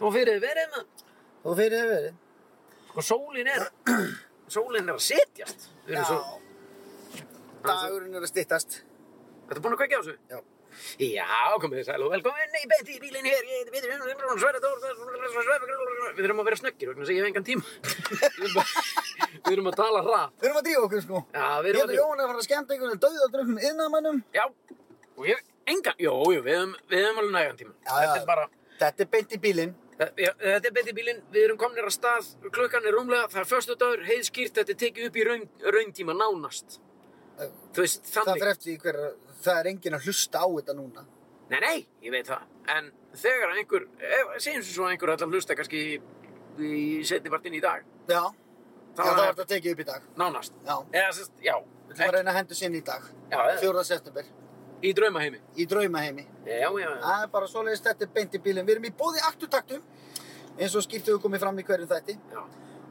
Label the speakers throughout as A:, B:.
A: Þú fyrir verið maður.
B: Þú fyrir hefur verið.
A: Sko sólin er, sólin er að setjast. Við erum svo-
B: Dagurinn er að styttast.
A: Ertu búin að kveikja á þessu?
B: Já.
A: Já, komið þið sæl og velkomin í beinti í bílinn hér, ég heiti Pétur Jónsson, um Sverre Dór, við þurfum að vera snöggir vegna þess að ég hef engan tíma. Við erum að- við erum að tala hratt.
B: Við erum að drífa okkur sko.
A: Já, við
B: Ég
A: erum
B: hefði Jón er að fara að skemmta ykkur til dauðaldröfnum innamannum.
A: Já, og ég hef engan, jú, jú, við hefum, við hefum alveg nægan tíma.
B: Já, já.
A: Þetta er bara,
B: Þetta er beint í bílinn.
A: eh, já, þetta er beinti í bílinn, við erum komnir að stað, klukkan er rúmlega, það er förstu dagur, heiðskýrt, þetta er tekið upp í raun, rauntíma nánast. Þú veist,
B: Eh, Það
A: þannig.
B: fyrir eftir því hver, það er enginn að hlusta á þetta núna.
A: Nei, nei, ég veit það. En þegar einhver, ef, segjum svo að einhver ætla að hlusta kannski í, í setni partin í dag,
B: Já,
A: þá
B: já það
A: er
B: var
A: það
B: þetta tekið upp í dag.
A: nánast.
B: Já,
A: Eða, sérst, já,
B: við ætlum að reyna að henda sinn í dag.
A: Já, eða-
B: 4. september,
A: í draumaheimi.
B: í draumaheimi.
A: Já, já, já.
B: Það er bara svoleiðis, þetta er beint í bílinn. Við erum í bóði aktutaktum, eins og skýrt hefur komið fram í hverjum þætti.
A: Já,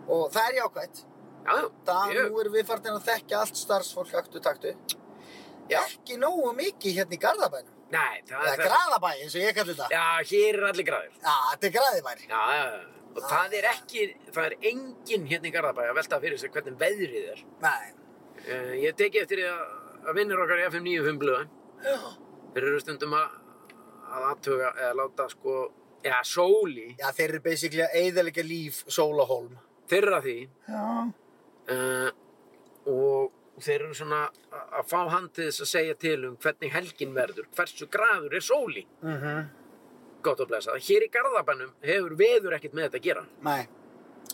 B: Og það er jákvætt.
A: já, já.
B: Það,
A: Jú.
B: nú erum við farin að þekkja allt starfsfólk aktutaktu.
A: Já.
B: Ekki nógu mikið hérna í Garðabænum.
A: Nei, það
B: Eða Graðabæ, eins og ég kalli þetta.
A: Já, hér er allir græðir.
B: Já, þetta er Graðibær.
A: Já, já, já.
B: Ah.
A: Og það er ekki, það er enginn hérna í Garðabæ að velta fyrir sig hvernig veðrið er.
B: Nei.
A: Uh, ég teki eftir því að, að vinnir okkar í FM 95 blöðan. Þeir eru stundum að, að aðtuga eða láta sko, já, sóli,
B: Já, þeir eru basically að eyðalega líf Sólahólm.
A: þeirra því
B: Já.
A: uh, og þeir eru svona að að fá hann til þess að segja til um hvernig helgin verður, hversu graður er sóli
B: Mhm.
A: gott og blessað. Hér í Garðabænum hefur veður ekkert með þetta að gera.
B: Nei.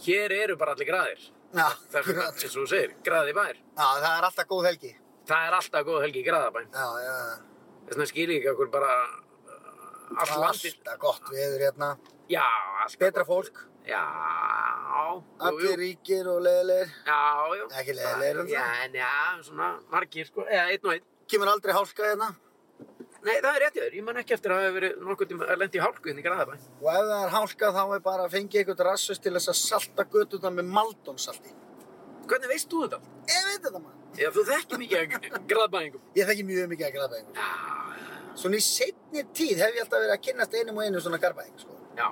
A: Hér eru bara allir graðir.
B: Já,
A: Það er svona,
B: akkurat.
A: eins og þú segir, graði bær.
B: Já, það er alltaf góð helgi.
A: Það er alltaf góð helgi í Graðabæn.
B: Já, já, já.
A: Þess vegna skil ég ekki okkur bara uh, allt landið.
B: Alltaf gott veður hérna.
A: Já, alltaf.
B: Betra
A: gott.
B: fólk.
A: Já, jú,
B: Allir
A: jú.
B: ríkir og leðilegir.
A: Já, jú.
B: Ekki leiðilegir en það.
A: Já, en já, svona margir, sko, eða einn og einn.
B: Kemur aldrei hálka hérna.
A: Nei, það er rétt hjá þér. Ég man ekki eftir að það hefur verið nokkuð tíma að lendi í hálku hérna í Graðabæn.
B: Og ef það er hálka þá er bara að fengið eitthvað rassust til þess að salta götuna með maldónsalti.
A: Hvernig veist þú þetta?
B: Ég veit þetta maður.
A: Já, þú þekkir mikið að Graðabæningum.
B: Ég þekki mjög mikið að grafa einhvern.
A: Já,
B: Svona í setni tíð hef ég alltaf verið að kynnast einum og einum svona garba einhvern, sko.
A: já,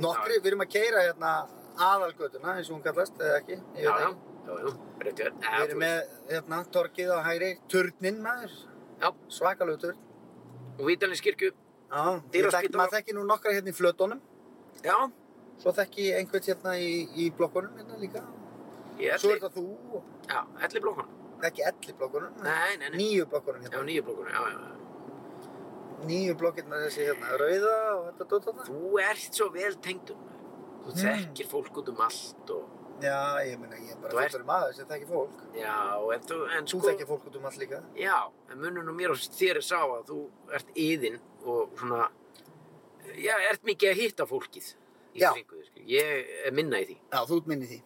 B: Nokkri, við erum að keira hérna aðalgötuna, eins og hún kallast, eða ekki. Ég
A: já,
B: veit
A: já,
B: ekki.
A: já, já, rétt hjá þér. Já,
B: Við
A: þú veist.
B: erum með, hérna, torkið á hægri, turninn maður,
A: Já,
B: svakalög turn.
A: og Vítalins kirkju.
B: Já, ég
A: Dýraspítala.
B: þekki, maður þekki nú nokkra hérna í flötunum,
A: Já,
B: svo þekki ég einhvern hérna í, í blokkunum hérna líka.
A: ég
B: Svo er
A: ætli,
B: þetta þú, og
A: já, ætli blókuna.
B: ekki elli blokkunum,
A: Nei, nei, nei.
B: nýju blokkunum
A: Já,
B: hérna.
A: nýju blókuna, já, já, já.
B: Nýju blokkirna þessi hérna, rauða og þetta dótt þarna.
A: Þú ert svo vel tengdum. Þú
B: Mm.
A: þekkir fólk út um allt og...
B: Já, ég meina, ég er bara
A: Þú ert-
B: þetta maður sem þekki fólk.
A: Já, en þú... En
B: Þú
A: sko,
B: þekki fólk út um allt líka.
A: Já, en mununum mér og þér er sá að þú ert yðin og svona... Já, ert mikið að hitta fólkið. í
B: Já.
A: kringum þig, skilur. Ég er minna í því.
B: Já, þú ert minni því.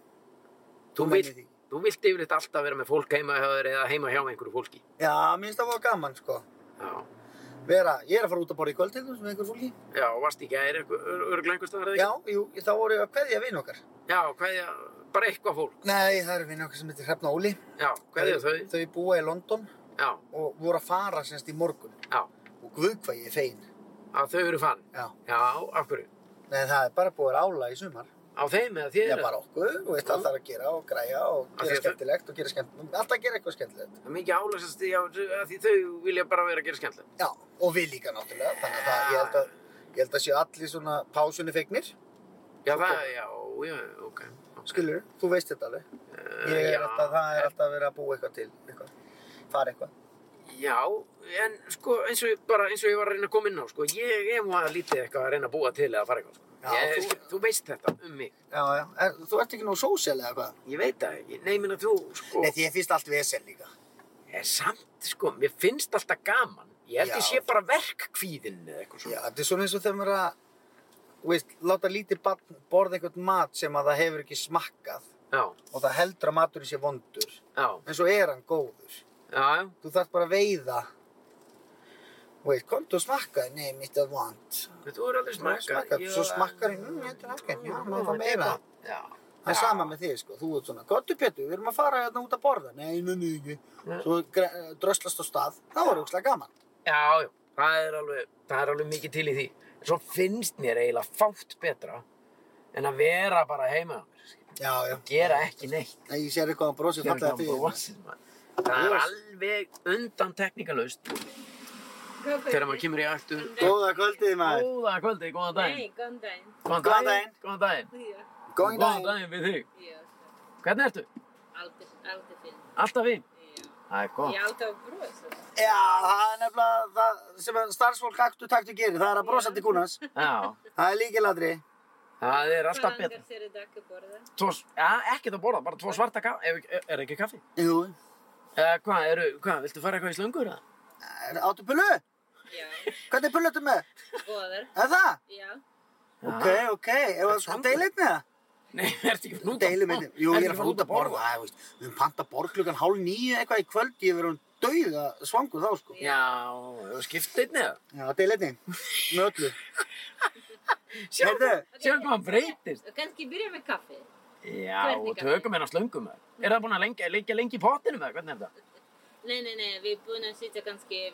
A: Þú,
B: meinir
A: vilt,
B: því.
A: þú vilt yfirleitt alltaf vera með fólk heima hjá þér eða heima hjá einhverju fólki.
B: Já, minnst það var gaman, sko.
A: Já,
B: Vera, ég er að fara út að borða í kvöld til þessum einhver fólki.
A: já og varst ekki að er örgla einhver staðar eða
B: Já,
A: ekki?
B: jú, þá voru ég að kveðja vinn okkar.
A: Já, hvaðja, bara eitthvað fólk.
B: Nei, það eru vinn okkar sem heitir Hrefna Óli.
A: Já, hvaðja þau?
B: Þau búa í London
A: Já,
B: og voru að fara semst í morgun.
A: já,
B: Og guð hvað ég er fegin.
A: að þau eru fann.
B: Já.
A: Já, af hverju?
B: Nei, það er bara búið að ála í sumar.
A: Á þeim eða þér?
B: Já, bara okkur. Þú veist, allt það er að gera og græja og
A: Af því
B: gera
A: að þau-
B: skemmtilegt og gera skemmtilegt. Alltaf að gera eitthvað skemmtilegt.
A: Það er mikið álæsast í að því þau vilja bara vera að gera skemmtilega.
B: Já, og við líka náttúrulega. Þannig að það, ég held að, ég held að séu allir svona pásunni fegnir.
A: Já, það, já, já, ok. ok.
B: Skilur, þú veist þetta alveg.
A: Eh,
B: Ég er
A: já,
B: alltaf, það er alltaf verið að búa eitthvað til, eitthvað. Fara eitthvað.
A: Já, en sko, eins og, ég- bara, eins og ég var að reyna að koma inn á, sko, ég er nú að lítið eitthvað að reyna að búa til eða fara eitthvað, sko.
B: Já,
A: ég,
B: þú-
A: þú veist þetta um mig.
B: Já, já. Er, þú ert ekki nóg sósíal eða hvað?
A: Ég veit það ekki, nei, minna þú, sko,
B: Nei, því ég finnst allt vesel líka.
A: er samt, sko, mér finnst alltaf gaman. Ég held ég
B: Já.
A: sé bara verkkvíðin eða eitthvað
B: Já,
A: svona.
B: þetta er svona eins og þegar maður er að, þú veist, láta lítið barn borða eitthvað mat sem að það hefur ekki smakkað
A: Já,
B: og það heldur að maturinn sé vondur.
A: já,
B: En svo er hann góður.
A: já, já,
B: Þú þarf bara að veiða. Þú veist, komdu og smakkaði, nei, mitt er vond.
A: þú eru aldrei smakkað.
B: smakkað,
A: Já,
B: svo smakkarðu,
A: já,
B: mm, þetta er ágætt,
A: já,
B: já, maður
A: þetta
B: fá
A: er
B: meira.
A: gott. Já.
B: Það er
A: Já.
B: sama með þig, sko. Þú ert svona, gottu Pétur, við erum að fara hérna út að borða. Nei, nenni því ekki.
A: Nei.
B: Svo eh, gre- dröslast á stað. Það var aukslega gaman.
A: Já, já, það er alveg, það er alveg mikið til í því. svo finnst mér eiginlega fátt betra en að vera bara heima hjá mér, skilur.
B: Já, já.
A: gera ekki neitt
B: Nei, Ég sér eitthvað að brosi
A: gera
B: fallega
A: ekki
B: því.
A: að brosið maður. það er alveg undan teknikalaust þegar maður kemur í ættu
B: Góða kvöldið maður.
A: góða kvöldi, góðan daginn
C: Nei, góðan daginn.
A: góðan
B: Góðan
A: daginn,
B: daginn.
A: góðan daginn
C: Já,
B: Góðan
A: góðan
B: daginn.
A: daginn við þig
C: já,
A: hvernig ertu?
C: aldrei, aldrei finn.
A: Alltaf við?
C: Já.
A: það er
C: Ég
A: gott
C: er alltaf að brosa.
B: Já, það er nefnilega það sem að starfsfólk aktu taktu gerir. Það er að brosa til kúnans.
A: já,
B: Það er líkiladri.
A: það er alltaf
C: Hvað
A: betra
C: langar þér í dag að borða?
A: Tvo, ja, ekkert að borða, bara tvo svarta kaffi, er, er, er ekki kaffi?
B: Jú.
A: Uh, hvað, eru, hvað, viltu fara eitthvað í slöngur eða?
B: Áttu pullu?
C: Já,
B: Hvernig pullu ertu með?
C: góðar.
B: Er það?
C: Já,
B: Ok, ok. Ef
A: er
B: að
A: svangur.
B: deilit með það?
A: Nei, ertu ekki fyrir út
B: Deilum með það. Jú, ég er að fara út að borða. Það, veist, við höfum panta borð klukkan hálf nýju eitthvað í kvöld. Ég verður hún dauða svangur þá, sko.
A: Já, skipt einni eða?
B: Já, deilitni. Með öllu.
A: Sjáum,
B: Heyrðu.
A: sjáum hvað hann breytist.
C: kannski byrja með kaffi.
A: Já,
C: Hvernig
A: og
C: kaffi?
A: tökum hennar slöngum eða? Er það búin að lengja, lengja lengi í pottinum eða? Hvernig er það?
C: Nei, nei, nei, við erum búin að sitja kannski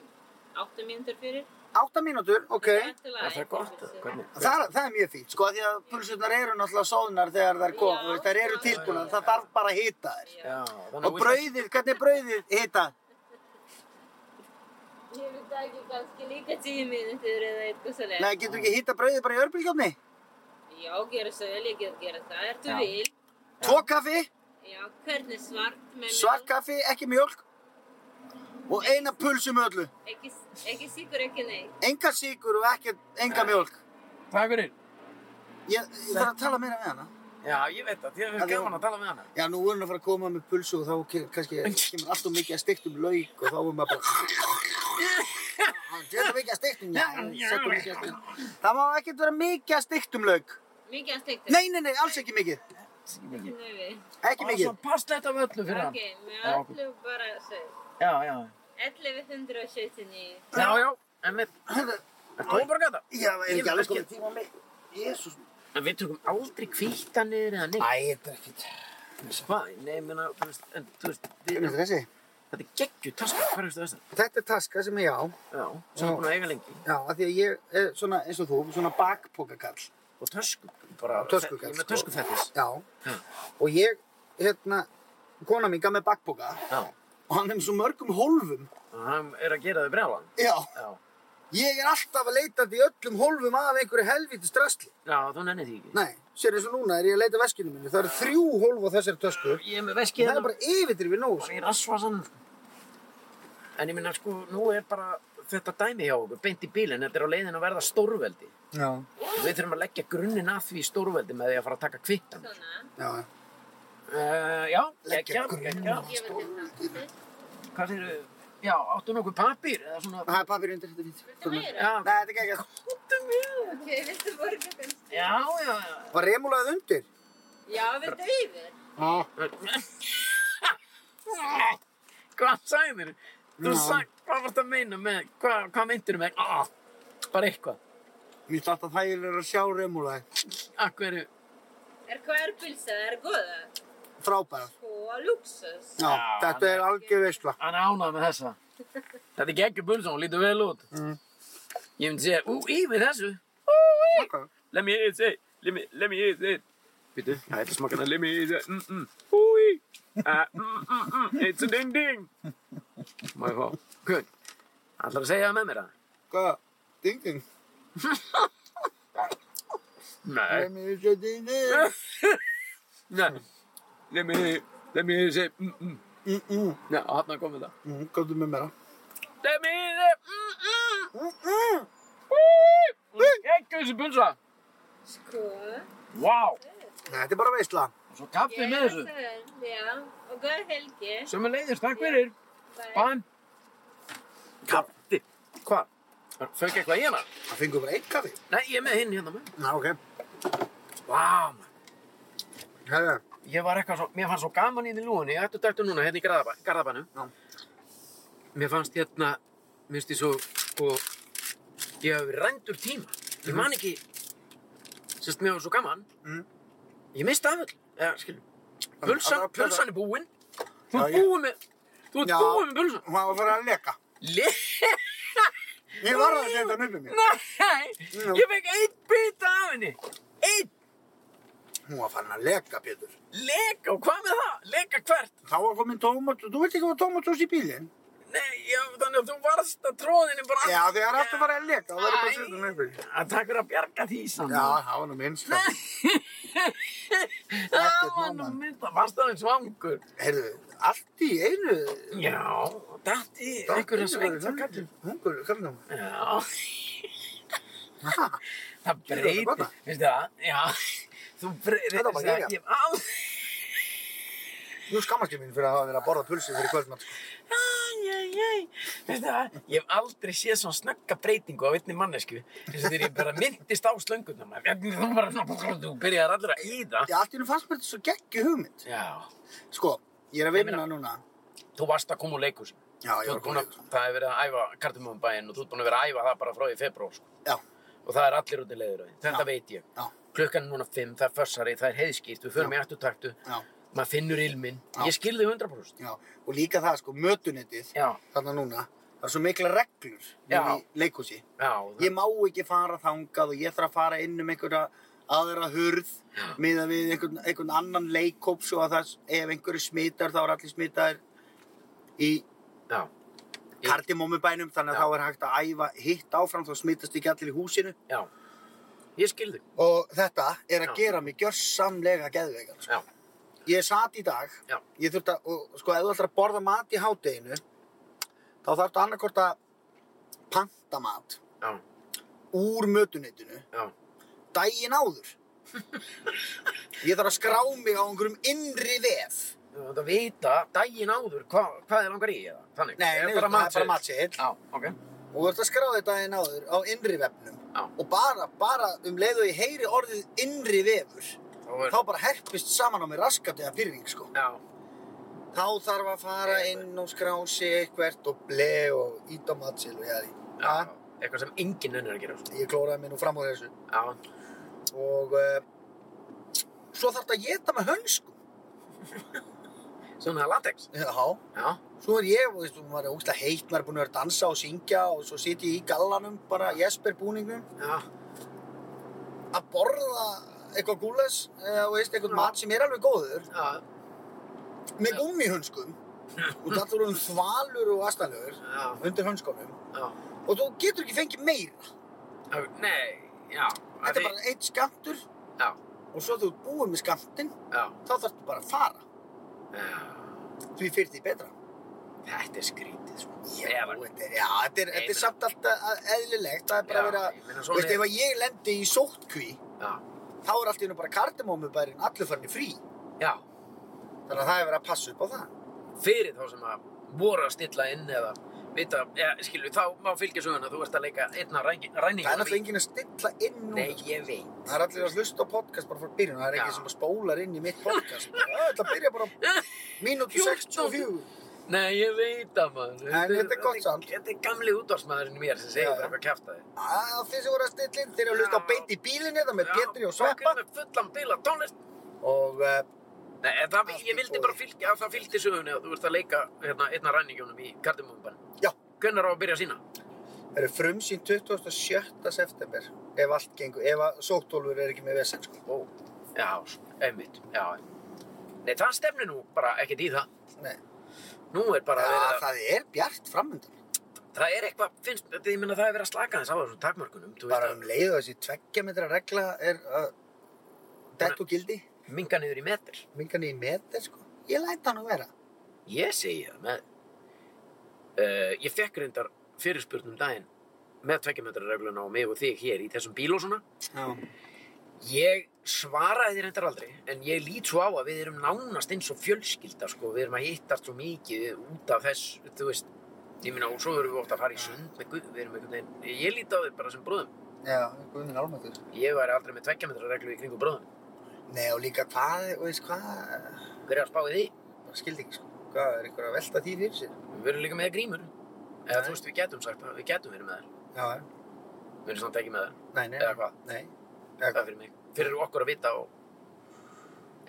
C: 8 mínútur fyrir.
B: Átta mínútur, ok.
A: Er það gott? eða? Hvernig?
B: Það, það er mjög fínt, sko, af því að pulsurnar eru náttúrulega sóðnar þegar þær kom,
C: Já.
B: þú veist, þær eru tilbúna, það þarf bara að hita þær.
C: Já.
A: Já, þannig
B: Og brauðið, hvernig er brauðið hitað?
C: Ég vil taki kannski líka 10 mínútur eða eitthvað svo
B: Nei, getur ekki hitað brauðið bara í örbílgjófni?
C: Já, gera svo vel, ég get gera það, er þú
A: Já.
C: vil.
B: Tvo kaffi,
C: Já, hvernig svart með
B: svart kaffi, ekki mjölk og eina pulsu með öllu.
C: Ekki, ekki sigur, ekki nei.
B: Enga síkur og ekki, enga mjölk.
A: Takk fyrir.
B: Ég, ég þarf að tala meira með hana.
A: Já, ég veit það, því að við erum
B: Já,
A: gaman að tala við hana.
B: Já, nú er hún að fara að koma með pulsu og þá ke- kannski kemur allt of mikið að steiktum lauk og þá er maður bara... Þetta mikið að steiktum, já, settum mikið að steiktum. Það má ekkert vera mikið að steiktum lauk.
C: Mikið að stekta.
B: Nei, nei, nei, alls ekki mikið.
A: Ekki
C: Nei, við.
B: Ekki
A: mikið.
B: mikið.
A: Og svo passlegt af öllu fyrir hann.
C: Ok, með
A: Já, ok.
C: öllu bara sög.
A: Já, já.
C: 1179.
A: Já, já, en við,
B: Hörðu,
A: er góð bara gata?
B: Já, er
A: Ég
B: ekki alveg
A: kannski-
B: komið tíma á mig. Jésús.
A: En við tökum aldrei kvítanir eða neitt.
B: Æ, þetta er ekkert.
A: Hvað? Nei, ég meina, þú veist, en þú veist, við,
B: Hvernig er þessi?
A: þetta er geggju taska, hvað er þetta?
B: Þetta er taska sem ég á.
A: Já, sem er búin að eiga lengi.
B: Já, af því að ég er svona, eins og þú, svona bakpokakall.
A: Og tösku, bara,
B: Töskukall,
A: ég er með
B: sko.
A: tösku fettis.
B: Já. Og ég, hérna, kona mín gaf mér bakpoka
A: Já,
B: og hann er með svo mörgum hólfum.
A: og hann er að gera þau brjálan.
B: Já.
A: Já,
B: Ég er alltaf að leita í öllum hólfum af einhverju helvítið strössli.
A: já, þú nennir því ekki.
B: Nei, sér eins og núna er ég að leita veskinu minni. Það eru þrjú hólf á þessari tösku.
A: Ég er með veskið
B: Það er
A: hérna,
B: bara yfirdrifið nóg. sko.
A: bara í rassvasan. En ég meina, sko, nú er bara þetta dæmi hjá okkur, beint í bílinn, þetta er á leiðin að verða stórveldi.
B: Já.
A: Við þurfum að leggja grunnin að því stórveldi með því að fara að taka kvittan.
C: Svona.
B: Já.
A: Uh, já,
B: Leggja
A: leggja,
B: grunninn
A: leggja.
C: Ég vil þetta.
A: Hvað þeir já, áttu nokkuð papír eða svona...
B: Það er pappir undir þetta fínt.
C: Viltu meira?
A: Já,
B: Ah. Nei, þetta er ekki ekki.
C: Ok, viltu borga kannski?
A: já, já, já.
B: Var remulaðið undir?
C: Já, viltu yfir?
B: Já.
A: Hvað sagði þér? Þú
B: Já.
A: sagði, hvað varst að meina með, hvað, hvað meintir með, ah, bara eitthvað.
B: Mér finnst alltaf þægilega að sjá remulaðið.
A: Akkur,
C: Er hvað er pilsa? Er góða?
B: Frábæra.
C: Sko, luxus.
B: Já.
A: Já,
B: Þetta er algjör veistla.
A: hann er ánað með þessa. Þetta er geggjur bulsa, hún lítur vel út.
B: Mm.
A: Ég myndi segja, ú, yfir þessu.
B: Ok.
A: Let me eat it, let me, let me eat it. Býtu, það er eitthvað smakkan að let me eat it, mm, mm, úi, uh, mm, mm, mm, it's a ding ding. Má ég fá, hvern, ætlar að segja það með mér það?
B: Hvað? Ding ding.
A: Nei.
B: Let me say ding ding.
A: Nei, let me, let me say, mm, mm.
B: Mm, mm.
A: Já, hann er komið það.
B: Mm, Góðu með mér það.
A: Let me say, mm, mm.
B: Mm, mm.
A: Hún er geggjur þessi bunsa.
C: Sko.
A: Vá,
B: Þetta er bara veistla.
A: og svo kaffið með þessu.
C: þessu. Já, og góða helgi.
A: Sjömmu leiðist, takk fyrir.
C: Bye.
A: Bann. Kaffi. Hvað? Fök eitthvað í hana?
B: Það fengur bara eitt kaffi.
A: Nei, ég er með hinn hérna með.
B: Já, ok.
A: Vá, man.
B: Herra.
A: Ég var eitthvað svo, mér fannst svo gaman í því lúinni, ég ættu dættu núna hérna í Garðabann- Garðabannum.
B: Já.
A: Mér fannst hérna, mér finnst ég svo, sko, ég hef verið rændur tíma.
B: Mhm.
A: Ég man ekki, sérst, mér var svo gaman.
B: Mm.
A: Ég mista af öll, eða, skilum.
B: það
A: Pulsan,
B: var pulsa.
A: pulsan er búinn. Þú
B: Já,
A: ert
B: ég-
A: búinn með, þú ert
B: Já.
A: búinn með pulsan.
B: Hún var að fara að leka.
A: Le
B: Ég var að setja hann upp um mér.
A: Nei,
B: Jú.
A: ég fekk einn bita af henni. Einn.
B: Hún var farin að leka, Pétur.
A: Leka, og hvað með það? Leka hvert?
B: Þá var komin tómat, þú veit ekki hvað tómat í bílinn?
A: Nei, já, þannig að þú varst að tróðinni bara...
B: Já, þegar aftur farið að leka, þá verður bara að setja hann upp um mér.
A: Það takur að bjarga því
B: Já,
A: saman.
B: það var nú minnst.
A: það
B: ekkert
A: var nú
B: mamman.
A: mynd að varst aðeins svangur.
B: Heyrðu, allt í einu.
A: Já, datt í einhverja svengta kallum.
B: Hungur, kallum.
A: Já,
B: Ha,
A: það
B: Þetta er
A: breytir,
B: gott.
A: veistu það? Já, þú breytir,
B: Þetta var bara
A: veistu það,
B: geggjað.
A: ég á...
B: nú skammast ég mín fyrir að hafa verið að borða pulsu fyrir kvöldmatt.
A: Æj, æj, æj. Veistu það, ég hef aldrei séð svona snögga breytingu á einni mannesku. Þessu þegar ég bara myndist á slöngurna maður. Þú bara svona, þú byrjar allir að íða.
B: Já, allt í einu fannst mér þetta svo geggi hugmynd.
A: Já,
B: Sko, ég er að vinna
A: Ég meina-
B: núna.
A: þú varst að koma úr leikus.
B: Já, ég var komin.
A: Það hefur verið að æfa kartumöfum bæinn og þú ert búin að vera að æfa það bara frá í februar. Sko.
B: Já,
A: Og það er allir út í leiður á því. Þetta
B: Já.
A: veit ég.
B: já,
A: Klukkan er núna 5, það er fössari, það er heiðskýrt, við förum í afturtaktu,
B: já,
A: maður finnur ilminn.
B: Já.
A: Ég skil þig 100%.
B: já. Og líka það, sko, mötunettið,
A: Já,
B: þarna núna, það er svo mikla reglur
A: Já.
B: núna í leikhúsi.
A: já.
B: Ég má ekki fara þangað og ég þarf að fara inn um einhverja aðra hurð miða við einhvern, einhvern annan leikkóp svo að það, ef einhverju smitar þá er allir smitaðir í
A: Já, Í-
B: kardimómubænum þannig að
A: Já.
B: þá er hægt að æfa hitt áfram þá smitast ekki allir í húsinu
A: já. Ég skil þig.
B: og þetta er að
A: Já.
B: gera mig gjörsamlega geðveikar sko.
A: Já,
B: ég sat í dag
A: Já.
B: ég þurfti að, og sko ef þú ætlar að borða mat í hádeginu þá þarftu annarkort að panta mat
A: já,
B: úr mötuneytinu
A: já.
B: daginn áður ég þarf að skrá mig á einhverjum innri vef
A: Þú ert að vita daginn áður hva, hvað er langar í eða? Þannig.
B: nei,
A: Er
B: nei, það er bara
A: matseðill?
B: matseðill
A: Já, ok.
B: og þú ert að skrá þetta daginn áður á innri vefnum
A: Já.
B: og bara, bara um leið og ég heyri orðið innri vefur
A: Þá er...
B: þá bara herpist saman á mig raskat eða pyrring sko
A: Já,
B: þá þarf að fara inn og skrá sig eitthvert og ble og ít á matseðil og ég,
A: já.
B: Ha?
A: Eitthvað sem enginn önnur er að gera. sko.
B: ég klóraði mér nú fram úr þessu
A: Já.
B: og uh, svo þarf þetta að geta með hönsku
A: Svona latex.
B: já
A: Já,
B: Svo er ég, þú veist, hún var ógstlega heitt, maður er búin að vera að dansa og syngja og svo sit ég í gallanum, bara Jesper búningnum,
A: já,
B: að borða eitthvað gúles, eða þú veist, eitthvað
A: Já.
B: mat sem er alveg góður,
A: já,
B: með gummihönskum, og það þú erum þvalur og astanlegur
A: já,
B: undir hönskunum,
A: já.
B: og þú getur ekki fengið meira.
A: Já, Nei, já.
B: Þetta er bara eitt skamtur,
A: Já,
B: og svo þú ert búin með skamtinn,
A: já,
B: þá þarftu bara að fara,
A: já.
B: því fyrir því betra.
A: Þetta er skrítið, sko.
B: Já,
A: Ef að-
B: þetta er, já, þetta er, þetta
A: Nei,
B: er samt alltaf eðlilegt, það er bara að vera,
A: ég meina
B: þú
A: svona...
B: veist, ef að ég lendi í sóttkví,
A: Já,
B: þá er allt í hennu bara kardimómubærin allir farin í frí.
A: já.
B: Þannig að það er verið að passa upp á það.
A: Fyrir þá sem að voru að stilla inn eða vita, ja, skilju, þá má fylgja söguna, þú ert að leika einna ræningu.
B: Það er náttúrulega enginn að stilla inn núna.
A: Nei, ég veit.
B: Það er allir að hlusta á podcast bara frá byrjun. Það er
A: Já.
B: ekki sem að spólar inn í mitt podcast. Það er að byrja bara mínútu 64.
A: Nei, ég veit það maður.
B: En þetta er gott samt.
A: Þetta er gamli útvarsmaðurinn í mér sem segir
B: Já, já.
A: bara eitthvað kæft að þið.
B: Að Þið sem voru að stilla inn, þeir eru að hlusta á
A: Já.
B: beint í bílinni það með Pétri og Sveppa.
A: Það er fullan bíl af tónlist.
B: Og uh,
A: Nei, en það,
B: Allt í
A: ég vildi
B: góðu.
A: bara fylgja að það fylgdi sögunni að þú ert að leika hérna, einna ræningunum í kardimumban.
B: Já.
A: Hvernig á að byrja sína?
B: það eru frumsýn 27. september. Ef allt gengur, ef að sóttólfur er ekki með vesen, sko.
A: Ó. Já, einmitt. Já. Nei, það stefnir nú bara ekkert í það.
B: Nei.
A: Nú er bara
B: Það,
A: að vera...
B: það er bjart framöndan.
A: Það er eitthvað, finnst, þetta- ég minna það er verið að slaka þess á þessum takmörkunum. Þú
B: Bara um
A: veist
B: leið og þessi tveggja metra regla er að dett og gildi.
A: að minga niður í metr.
B: mingan í meter sko ég læt hann að vera
A: Ég segi það með uh, Ég fekk reyndar fyrirspurnum daginn með tveggjumetrarregluna og mig og þig hér í þessum bíl og svona
B: já,
A: Ég svaraði þér reyndar aldrei en ég lít svo á að við erum nánast eins og fjölskylda sko, við erum að hittast svo mikið út af þess, þú veist Ég minna, og svo erum við ofta að fara í sund með guð, við erum einhvern veginn, ég lít á þér bara sem bróðum.
B: já guðminn álmættur
A: Ég væri aldrei með tveggjumetrarreglu í kringum bróðum.
B: nei og líka hvað, og veist hvað
A: Hver er að spáði því?
B: maður skildi ekki sko hvað er ykkur að velta því fyrir sér
A: Við verðum líka með grímur. Eða
B: Nei.
A: þú veist, við getum sagt það, við getum verið með þær.
B: já, já.
A: Við erum samt ekki með þær,
B: nei, nei,
A: eða hvað?
B: nei Eða
A: Það
B: hvað?
A: er fyrir mig. Fyrir okkur að vita og...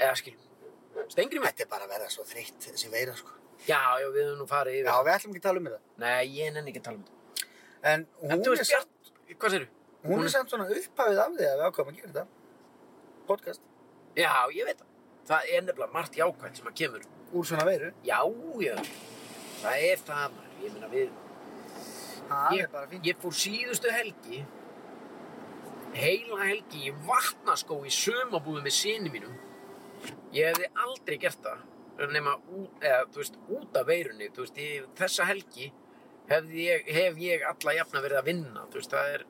A: Eða skiljum. Stengri mig.
B: þetta er bara að vera svo þreytt þessi veira sko
A: Já, já, við höfum nú farið
B: já
A: yfir.
B: við ætlum ekki að tala um þetta
A: Nei, ég nenni ekki að tala um þetta.
B: En
A: En
B: hún
A: þú
B: er
A: veist,
B: samt,
A: Bjart, hvað segir
B: hún er samt svona upphafið af því að við ákvæmum að gera þetta. Podcast.
A: Já, ég veit það. Það er nefnilega margt jákvæmt sem að kemur.
B: Úr svona veiru.
A: Já, já. Það er það, maður. Ég meina við,
B: Það
A: Ég-
B: er bara fínt.
A: ég fór síðustu helgi, heila helgi, ég vatna skó í sömabúðu með sinni mínum. Ég hefði aldrei gert það, nema út, eða, þú veist, út af veirunni, þú veist, ég, þessa helgi hef ég, hef ég alla jafna verið að vinna, þú veist, það er,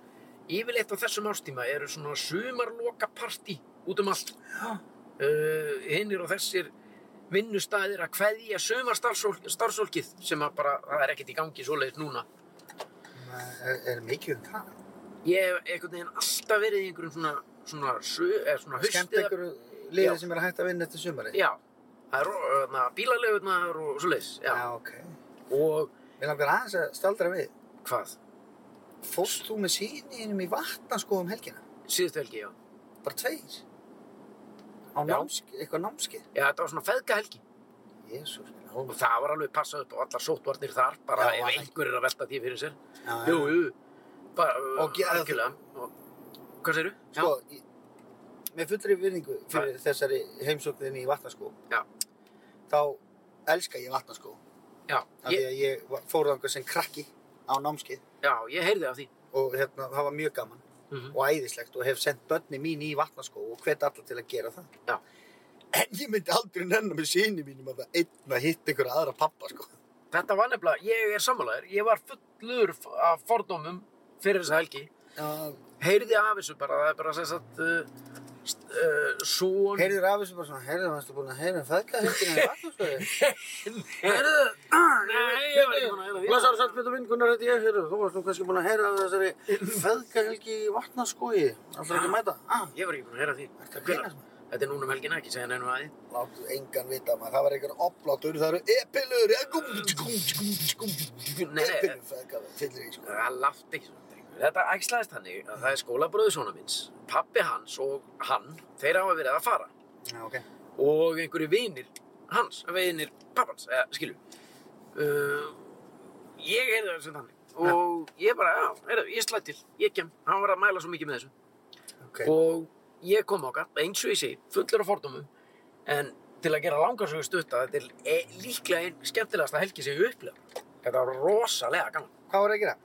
A: yfirleitt á þessum ástíma eru svona sömarloka partí út um allt. Uh, hinnir og þessir vinnustæðir að kveðja sömar starfsólkið sem að bara, það er ekkert í gangi svoleiðis núna.
B: Er, er mikið um það?
A: Ég hef einhvern veginn alltaf verið í einhverjum svona, svona, sö, eða svona
B: Skemmt
A: haustið.
B: ykkur liðið
A: Já.
B: sem er að hætta að vinna eftir sumari?
A: Já, það er öðna, bílalegunar og svoleiðis. Já.
B: Já, ok.
A: Og
B: Mér langar aðeins að staldra við.
A: hvað?
B: Fórst þú með síninum í vatnaskóðum helgina?
A: Síðustu helgi, já.
B: Bara tveir? Á
A: Já.
B: námski, eitthvað námski?
A: Já, þetta var svona feðga helgi.
B: Jésús minn,
A: Og
B: alveg.
A: það var alveg passað upp á allar sótvarnir þar, bara
B: Já, var
A: ef
B: það ekki?
A: einhver er að velta því fyrir sér.
B: Já, já.
A: Jú, jú, bara uh,
B: Og gera-
A: algjörlega. Og, hvað segirðu? Já,
B: Sko, ég- með fullri virðingu fyrir þessari heimsókninni í vatnaskó.
A: Já.
B: Þá elska ég vatnaskó.
A: já,
B: Af því
A: ég,
B: að ég var- fór þangað sem krakki á námskið
A: já, ég heyrði af því.
B: og hérna, það var mjög gaman
A: Mhm.
B: og æðislegt og hef sendt börni mín í vatnaskó og hvet alla til að gera það.
A: Já.
B: En ég myndi aldrei nennan með síni mínum að það einn að hitta einhverja aðra pappa, sko.
A: Þetta var nefnilega, ég er sammálaður, ég var fullur f- af fordómum fyrir þessa helgi.
B: Já.
A: heyrði af þessu bara, það er bara sem sagt uh, st- uh, són
B: Heyrður af þessu bara svona, heyrður, varstu búin að heyra um feðgahöldina í vatnaskóði?
A: heyrðu, nei, ég var ekki búin að heyra því
B: Blessaður Saltbjörn minn, Gunnar heiti ég, heyrðu, þú varst nú kannski búin að heyra af þessari feðgahelgi í vatnaskói, alltaf ekki að mæta. Ah,
A: ég var ekki búin að heyra því
B: Ertu
A: Hvenær?
B: að grínast,
A: þetta er núna um helgina, ekki segja nefnum aði
B: Láttu engan vita maður, það var einhver oplátur, það eru epilur, ekum, tkum, tkum, tkum,
A: Nei, nei.
B: epilur feðgahelgi, fyllir ég sko.
A: það látt ekki svona, drengur. þetta æxlaðist þannig að það er skólabröðu svona minns pappi hans og hann, þeir hafa verið að fara
B: Já, ok.
A: og einhverju vinir hans, vinir pappans, eða skilju uh, ég heyrði þessu þannig og ég bara, já, heyrðu, ég slæði til ég kem, hann var að mæla svo mikið með þessu
B: Ok,
A: og ég kom okkar, eins og ég segi, fullur af fordómum en til að gera langarsögu stutta þetta er e líklega einn skemmtilegasta helgi sem ég upplega þetta var rosalega gaman
B: hvað var það að gera?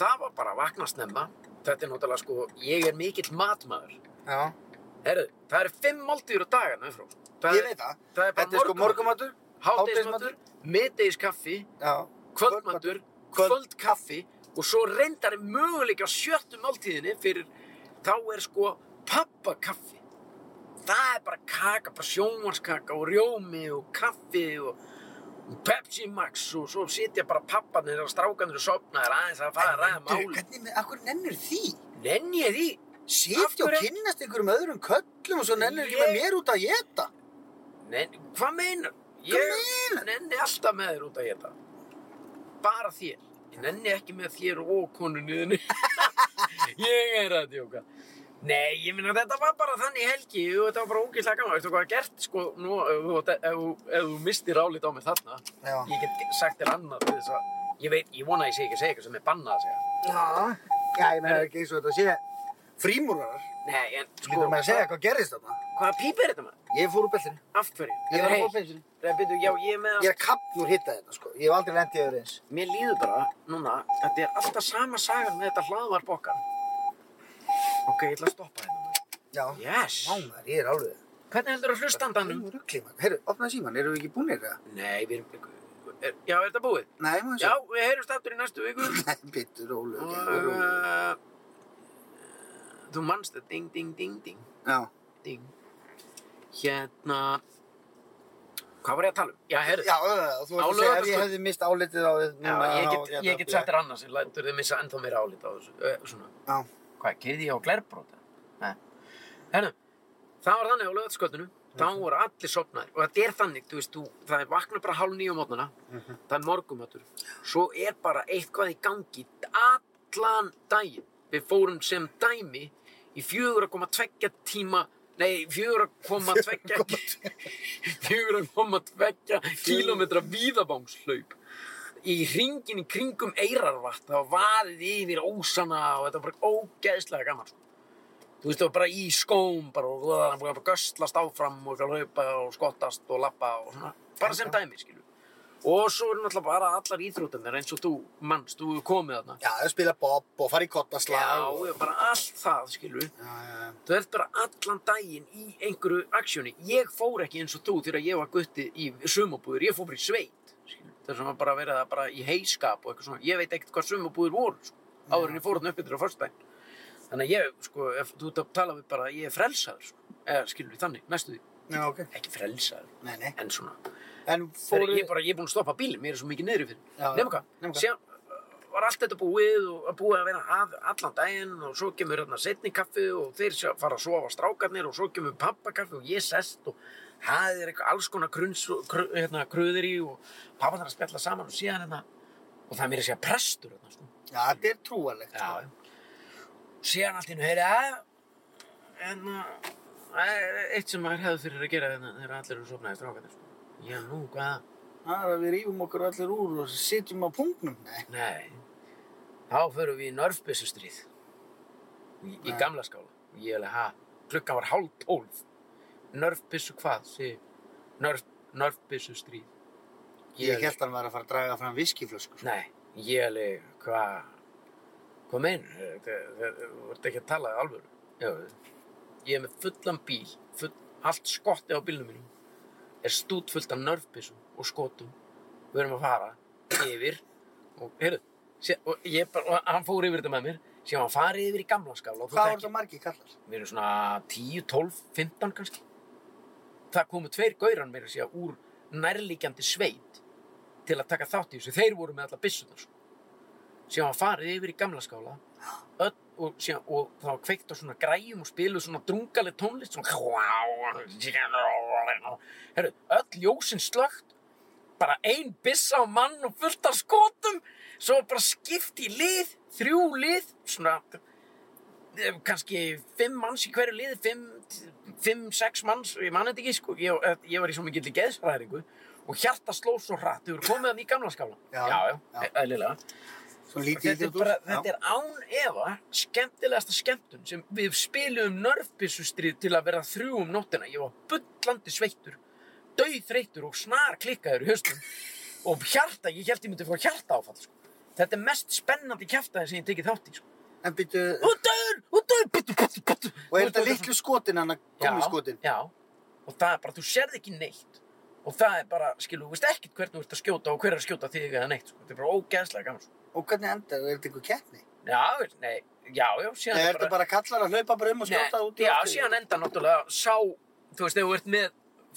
A: það var bara að vakna snemma þetta er náttúrulega sko, ég er mikill matmaður
B: Já,
A: Herðu, það eru fimm máltíður á dagan umfrá það,
B: ég
A: er-
B: veit
A: það
B: það.
A: er
B: Þetta er
A: bara
B: sko morgumatur,
A: hádegismatur, miðdegiskaffi
B: já,
A: kvöldmatur, kvöldkaffi og svo reyndar er möguleik á sjöttu máltíðinni fyrir þá er sko pappakaffi það er bara kaka, bara sjónvarskaka og rjómi og kaffi og Pepsi Max og svo sitja bara pappanir og strákanir og sopnaðir aðeins að fara að ræða máli
B: Hvernig, með- af hverju nennir því?
A: nenni ég því
B: Sitja og
A: hverju-
B: kynnast einhverjum öðrum köllum og svo nennir ekki með
A: Ég-
B: mér út að geta.
A: Nen, hvað meinar? Ég
B: meinar?
A: nenni alltaf með þér út að geta. Bara þér. Ég nenni ekki með þér og konunniðinni. ég er að djóka. Nei, ég minna þetta var bara þannig helgi og þetta var bara ógeðslega gaman. Veistu hvað er gert, sko, nú, ef, þú- ef, þú- ef þú mistir álít á mig þarna,
B: Já.
A: ég get sagt þér annað til þess að, ég veit, ég vona að ég sé ekki að segja eitthvað sem er bannað að segja.
B: Já, já, ég meina ekki eins og þetta sé frímúrarar.
A: Nei, en,
B: Sko,
A: sko,
B: Lítur maður að segja hvað gerðist þarna?
A: hvaða píp er þetta maður?
B: Ég fór úr bellinni.
A: Af hverju?
B: Ég var að
A: Hey,
B: fór bensinni.
A: Nei, byrju, já, ég er með
B: Ég er kappnur hitta þetta, sko. Ég hef aldrei lendið öðru eins.
A: Mér líður bara núna, þetta er alltaf sama sagan með þetta hlaðvarp okkar. Ok, ég ætla að stoppa hérna.
B: Já.
A: Yes!
B: Mánar, ég er alveg.
A: Hvernig heldur þú hlustandanum?
B: Nú ruggli maður. Herru, opnaði síman, eru við ekki búinir það?
A: Nei, við erum... Er, já, er þetta búið?
B: Nei, maður
A: Já, við heyrjumst aftur í næstu viku.
B: Nei, bitur,
A: Og,
B: ólega.
A: uh, þú manst það, ding, ding, ding, ding,
B: Já.
A: ding. Hérna... Hvað var ég að tala um? Já, heyrðu.
B: Já, uh, þú veist að
A: Álögur
B: segja, ef
A: þetta,
B: ég
A: sko.
B: hefði mist álitið á þið
A: Já,
B: núna.
A: ég
B: þá
A: get,
B: hefði
A: ég get
B: aflið-
A: sagt þér annars, ég lætur þið missa ennþá meira álít á þessu, uh, svona.
B: Já.
A: Hvað, keyrði ég á glerbróta? Nei. Herru, það var þannig á lögatskvöldinu, þá voru allir sopnaðir og þetta er þannig, þú veist, þú, það er vakna bara hálf nýjum mótnana, það er morgumatur, svo er bara eitthvað í gangi allan daginn. Við fórum sem dæmi í 4,2 tíma, nei, 4,2 4,2 kílómetra víðabangslaup í hringin í kringum eirarvatn það var vaðið yfir ósana og þetta var bara ógeðslega gaman sko. þú veist það var bara í skóm bara og það var bara göstlast áfram og eitthvað hlaupa og skottast og lappa og svona bara sem dæmi skilju og svo eru náttúrulega bara allar íþrótunir eins og þú mannst, þú hefur komið þarna
B: Já, þau spila bob og fara í kottaslag
A: já,
B: og...
A: já, bara allt það skilju
B: já, já, já.
A: Þú ert bara allan daginn í einhverju aksjóni. Ég fór ekki eins og þú þegar ég var gutti í sumabúður. Ég fór bara í sveit. skilur. Þess vegna var bara verið það bara í heiskap og eitthvað svona. Ég veit ekkert hvað sumabúður voru. Sko, áður en ég fór hann upp yfir á fyrstdæn. Þannig að ég, sko, ef þú ert að tala við bara, ég er frelsaður. Sko. Eða skilur við þannig, næstu því.
B: já, ok
A: Ekki frelsaður,
B: Nei, nei
A: en svona.
B: En
A: Þegar
B: fóru
A: ég, bara, ég er búin að stoppa bílinn, mér er svo mikið niðri fyrir.
B: Já,
A: Nefnum hvað,
B: nema hvað.
A: síðan uh, var allt þetta búið og að búið að vera að allan daginn og svo kemur hérna setni kaffi og þeir sjá- fara að sofa strákarnir og svo kemur pappa kaffi og ég sest og það er eitthvað alls konar grunns, kru, hérna, kröður í og pappa þarf að spjalla saman og síðan hérna og það er mér að segja prestur hérna, sko.
B: Já, þetta er sko. trúalegt
A: Já, já. Síðan allt í nú, heyri, að, en að, það er eitt sem maður hefði fyrir að gera hérna þegar allir eru sofnaði strákarnir, sko. Já, nú, hvað?
B: Það er að við rýfum okkur allir úr og sitjum á punktnum Nei,
A: Nei, þá förum við í nörfbyssustrið í, í
B: Nei.
A: gamla skála. Ég alveg, ha, klukkan var hálf tólf. Nörfbyssu hvað, segi, nörf, nörfbyssustrið.
B: ég held að hann var að fara að draga fram viskiflösku
A: Nei, ég alveg, hvað, hvað meinu, þú ert ekki að tala í alvöru. Já, ég er með fullan bíl, full, allt skotti á bílnum mínum, er stút fullt af nörfbyssum og skotum, við erum að fara yfir og, heyrðu, sé, og, ég bara, og hann fór yfir þetta með mér, sem hann farið yfir í gamla skála og þú
B: Hvað voru
A: þekki,
B: það margir kallar?
A: við erum svona 10, 12, 15 kannski. Það komu tveir gauran mér að segja úr nærlíkjandi sveit til að taka þátt í þessu. Þeir voru með alla byssunar sko. Síðan var farið yfir í gamla skála öll, og, síðan, og það var kveikt á svona græjum og spiluð svona drungaleg tónlist svona Herru, öll ljósin slögt bara ein byssa á mann og fullt af skotum svo var bara skipt í lið þrjú lið svona eh, kannski fimm manns í hverju liði fimm, fimm, sex manns ég mani þetta ekki sko ég, eh, ég var í svo mikill geðsræðingu og hjarta sló svo hratt þau voru komið hann í gamla skála
B: Já,
A: já,
B: já.
A: já. eðlilega
B: Svo
A: Og
B: lítið
A: Þetta er, bara, þetta er án efa skemmtilegasta skemmtun sem við spilum nörfbyssustrið til að vera þrjú um nóttina. Ég var bullandi sveittur, dauðþreyttur og snar klikkaður í höstum og hjarta, ég held ég myndi að fá hjarta áfall. Sko. Þetta er mest spennandi kjaftaði sem ég tekið þátt í. Sko.
B: En byrju,
A: Og döður, og döður, byttu, byttu, byttu.
B: og er þetta litlu skotin hann að komi skotin?
A: Já, já, og það er bara, þú sérð ekki neitt. Og það er bara, skilu, þú veist ekkert hvernig þú ert að skjóta og hver er að skjóta þig eða neitt. Sko. Þetta er bara ógeðslega gaman. Sko.
B: Og hvernig endar, er þetta einhver keppni?
A: Já, nei, já, já, síðan
B: Eða er þetta bara kallar að hlaupa bara um og skjóta
A: Nei,
B: út í
A: Já,
B: loftið?
A: síðan enda náttúrulega sá, þú veist, ef þú ert með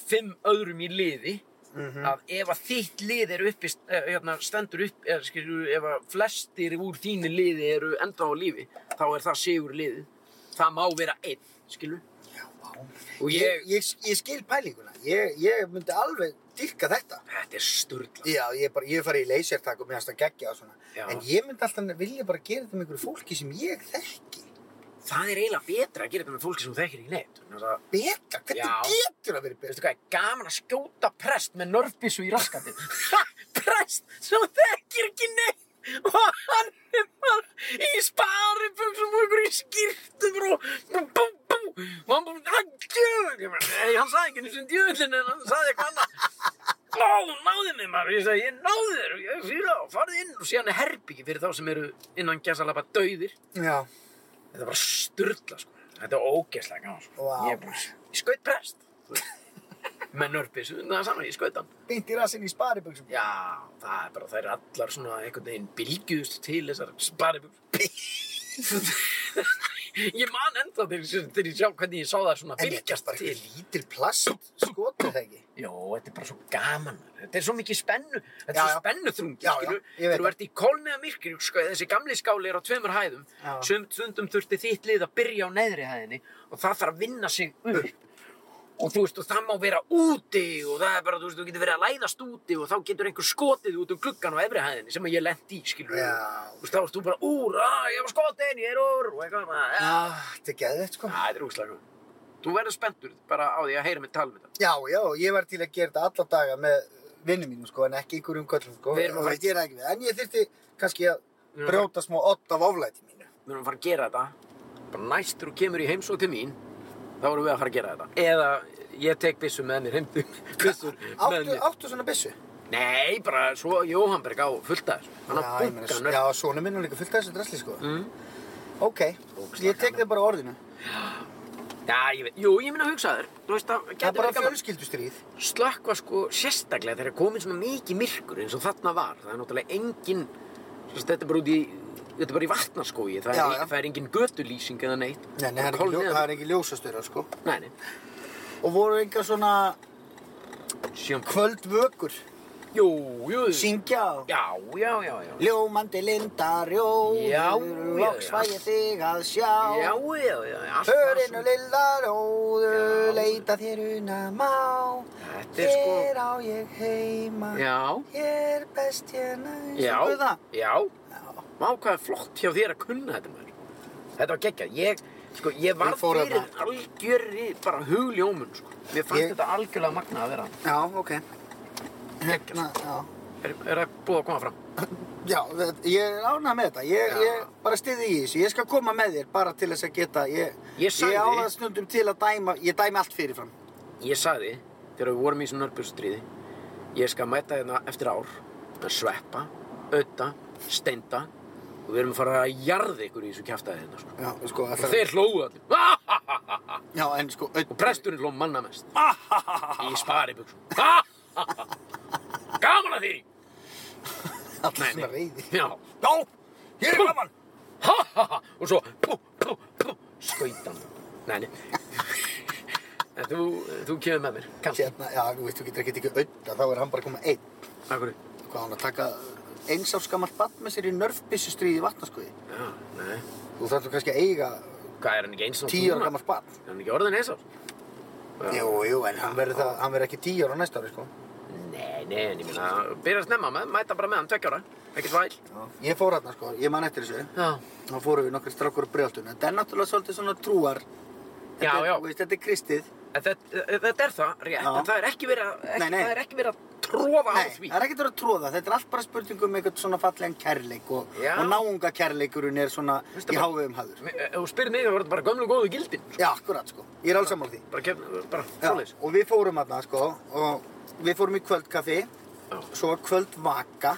A: fimm öðrum í liði,
B: Mhm.
A: að ef að þitt lið er uppi, eh, hérna, stendur upp, eða skilur, ef að flestir úr þínu liði eru enda á lífi, þá er það sigur liðið. Það má vera einn, skilur. Og
B: ég,
A: ég,
B: ég, ég skil pælinguna ég, ég myndi alveg dyrka þetta
A: þetta er sturla.
B: já, ég, bara, ég fari í leysertak og mér hans að gegja og svona
A: Já.
B: en ég myndi alltaf vilja bara gera þetta með einhverju fólki sem ég þekki
A: Það er eiginlega betra að gera þetta með fólki sem þú þekkir ekki neitt. Þannig að það,
B: betra, hvernig
A: Já.
B: getur það verið
A: veistu
B: betra
A: hvað, er gaman að skjóta prest með nörfbissu í raskatinn. Ha, prest sem þekkir ekki neitt. Og hann er bara í sparibuxum og einhverju skýrtum og bú, bú, bú. Og hann bara, hann djöður. Nei, hann sagði ekki eins og djöðlinn en hann sagði eitthvað annað. Ó, þú náði mig maður. Ég sagði, ég náði þér. og Ég fyrir á, farið inn. Og síðan er herbyggi fyrir þá sem eru innan gæsalapa dauðir.
B: já,
A: Þetta var styrla, sko. Þetta var ógeðslega gaman, sko.
B: Vá.
A: Ég, bara, ég skaut prest. þú veist. Með nörpis, það er saman, ég skaut hann.
B: beint í rassinn í spariböksum
A: Já, það er bara, það er allar svona einhvern veginn bylgjuðust til þessar sparibug. ég man enda til, til ég sjá hvernig ég sá það svona
B: en þetta er
A: bylgjast
B: bara
A: til.
B: eitthvað lítil plast skotur það ekki
A: Jó, þetta er bara svo gaman. Þetta er svo mikið spennu. Þetta er
B: Já,
A: svo
B: já.
A: spennu þrungi,
B: Já, já,
A: skilju.
B: ég veit
A: Þegar þú ert í kólni eða myrkri, sko, þessi gamli skáli er á tveimur hæðum.
B: Já.
A: Sum- Stundum þurfti þitt lið að byrja á neðri hæðinni og það þarf að vinna sig upp. Og þú veist, og það má vera úti og það er bara, þú veist, þú getur verið að læðast úti og þá getur einhver skotið út um gluggan á efri hæðinni sem að ég lent í, skilju.
B: Já.
A: Þú veist, þá erst þú bara úr, að ég var skotin, ég er úr og eitthvað. svona.
B: já, þetta er geðveikt sko
A: Já, þetta er úrslag. Þú verður spenntur bara á því að heyra mig tala um þetta.
B: já, já, ég var til að gera þetta alla daga með vinnum mínum sko, en ekki ykkur um köllum sko.
A: Við erum að
B: Það
A: fara-
B: gera ekki við. En ég þyrfti kannski að
A: Já.
B: brjóta smá odd af oflæti mínu.
A: Við erum að fara að gera þetta. Bara næst þegar þú kemur í heimsók til mín, þá erum við að fara að gera þetta. Eða ég tek byssu með mér heimdu. Byssur með
B: Áttu,
A: mér.
B: áttu svona byssu?
A: Nei, bara svo Jóhannberg á fullt af þessu. Hann á
B: Já, ég meina,
A: bunkan
B: Já,
A: öll.
B: sonu minn er líka fullt af þessu drasli sko.
A: Mm.
B: Ok,
A: Ógeðslega
B: ég tek þig bara á orðinu.
A: Já, ég veit. Jú, ég minna að hugsa þér. Þú veist að
B: Það er
A: getur
B: bara
A: verið gaman.
B: fjölskyldustríð.
A: Slökkva sko sérstaklega þegar er komin svona mikið myrkur eins og þarna var. Það er náttúrulega engin, sem sagt, þetta er bara út í, þetta er bara í vatnarskói. Það, er-
B: Já,
A: e-
B: já.
A: það er engin götulýsing eða neitt.
B: Nei, nei, það er ekki
A: Kolniðar-
B: ljó- það er ekki ljósastöra sko.
A: Nei, nei.
B: Og voru einhver svona
A: Sjón.
B: kvöldvökur,
A: Jú, jú.
B: syngja og...
A: Já, já, já, já.
B: Ljómandi lindarjóður,
A: Já, já,
B: loks
A: já.
B: fæ ég þig að sjá.
A: Já, já, já, allt það
B: Hörinu
A: svona.
B: lilla róður,
A: Já.
B: leita þér una má.
A: Þetta er sko...
B: Hér á ég heima,
A: Já,
B: hér best ég næst. Söngu
A: já,
B: það?
A: já.
B: Já.
A: Má hvað er flott hjá þér að kunna þetta maður. Þetta var geggjað. Ég, sko, ég var
B: Ég fór
A: fyrir
B: þarna.
A: algjörri bara hugljómun, sko. Mér fannst
B: Ég-
A: þetta algjörlega magnað að vera.
B: Já, ok.
A: Geggjað.
B: Na, Hérna, já.
A: Er, er það búið að koma fram?
B: Já, þetta- ég er ánað með þetta. Ég,
A: Já.
B: ég bara stiði í þessu. Ég skal koma með þér bara til þess að geta. Ég,
A: Ég sagði-
B: á það snundum til að dæma, ég dæmi allt fyrirfram.
A: Ég sagði, þegar við vorum í svona nörbjörnstríði, ég skal mæta hérna eftir ár, að sveppa, auða, steinda og við erum að fara að jarða ykkur í þessu kjaftaði hérna, sko.
B: Já, sko,
A: Og þeir hlóðu allir. Ah, ha, ha, ha, ha.
B: Já, en sko,
A: Og presturinn hló manna mest.
B: Ahahaha.
A: Í spari buksum. Gaman að því!
B: Alltaf svona reyði.
A: Já.
B: Já, ég er gaman.
A: Ha, ha, ha. Og svo pú, pú, pú. Skautan. Nei, nei. En þú, þú kemur með mér. Kanski.
B: Hérna, já, þú veist, þú getur ekki tekið auða, þá er hann bara að koma einn.
A: Akkur.
B: Hvað á hann að taka eins af skamalt bann með sér í nörfbyssustríði í vatnaskoði?
A: Já, nei.
B: Þú þarf þú kannski að eiga
A: Hvað er hann ekki eins og
B: tíu ára gamalt bann.
A: Er hann ekki orðin eins og?
B: Jú, jú, en hann verður það- hann verður ekki tíu ára á næsta ári, sko.
A: Nei, nei, en ég meina, byrja að snemma með, mæta bara með hann tveggja ára. Ekkert væl.
B: Ég fór hérna, sko, ég man eftir þessu.
A: Já.
B: Þá fórum við nokkri strákur á brjáltun. Þetta er náttúrulega svolítið svona trúar. Þetta
A: Já,
B: er,
A: já.
B: þú Veist, þetta er kristið.
A: En þetta, þetta er það, rétt.
B: Já.
A: En það er ekki verið að, ekki-
B: Nei, nei.
A: það er ekki verið að trófa á
B: Nei,
A: því.
B: það er ekkert verið að tróða. Þetta er allt bara spurning um eitthvað svona fallegan kærleik og,
A: Já.
B: og náunga kærleikurinn er svona
A: Veistu
B: í
A: bara-
B: hávegum hafður.
A: Mi- Ef þú spyrir mig, þá voru þetta bara gömlu góðu gildin.
B: Já, akkurat sko. Ég er alls sammála því.
A: Bara kemna, bara
B: Já,
A: svoleiðis.
B: og við fórum aðna sko og við fórum í kvöldkaffi,
A: Já.
B: svo var kvöldvaka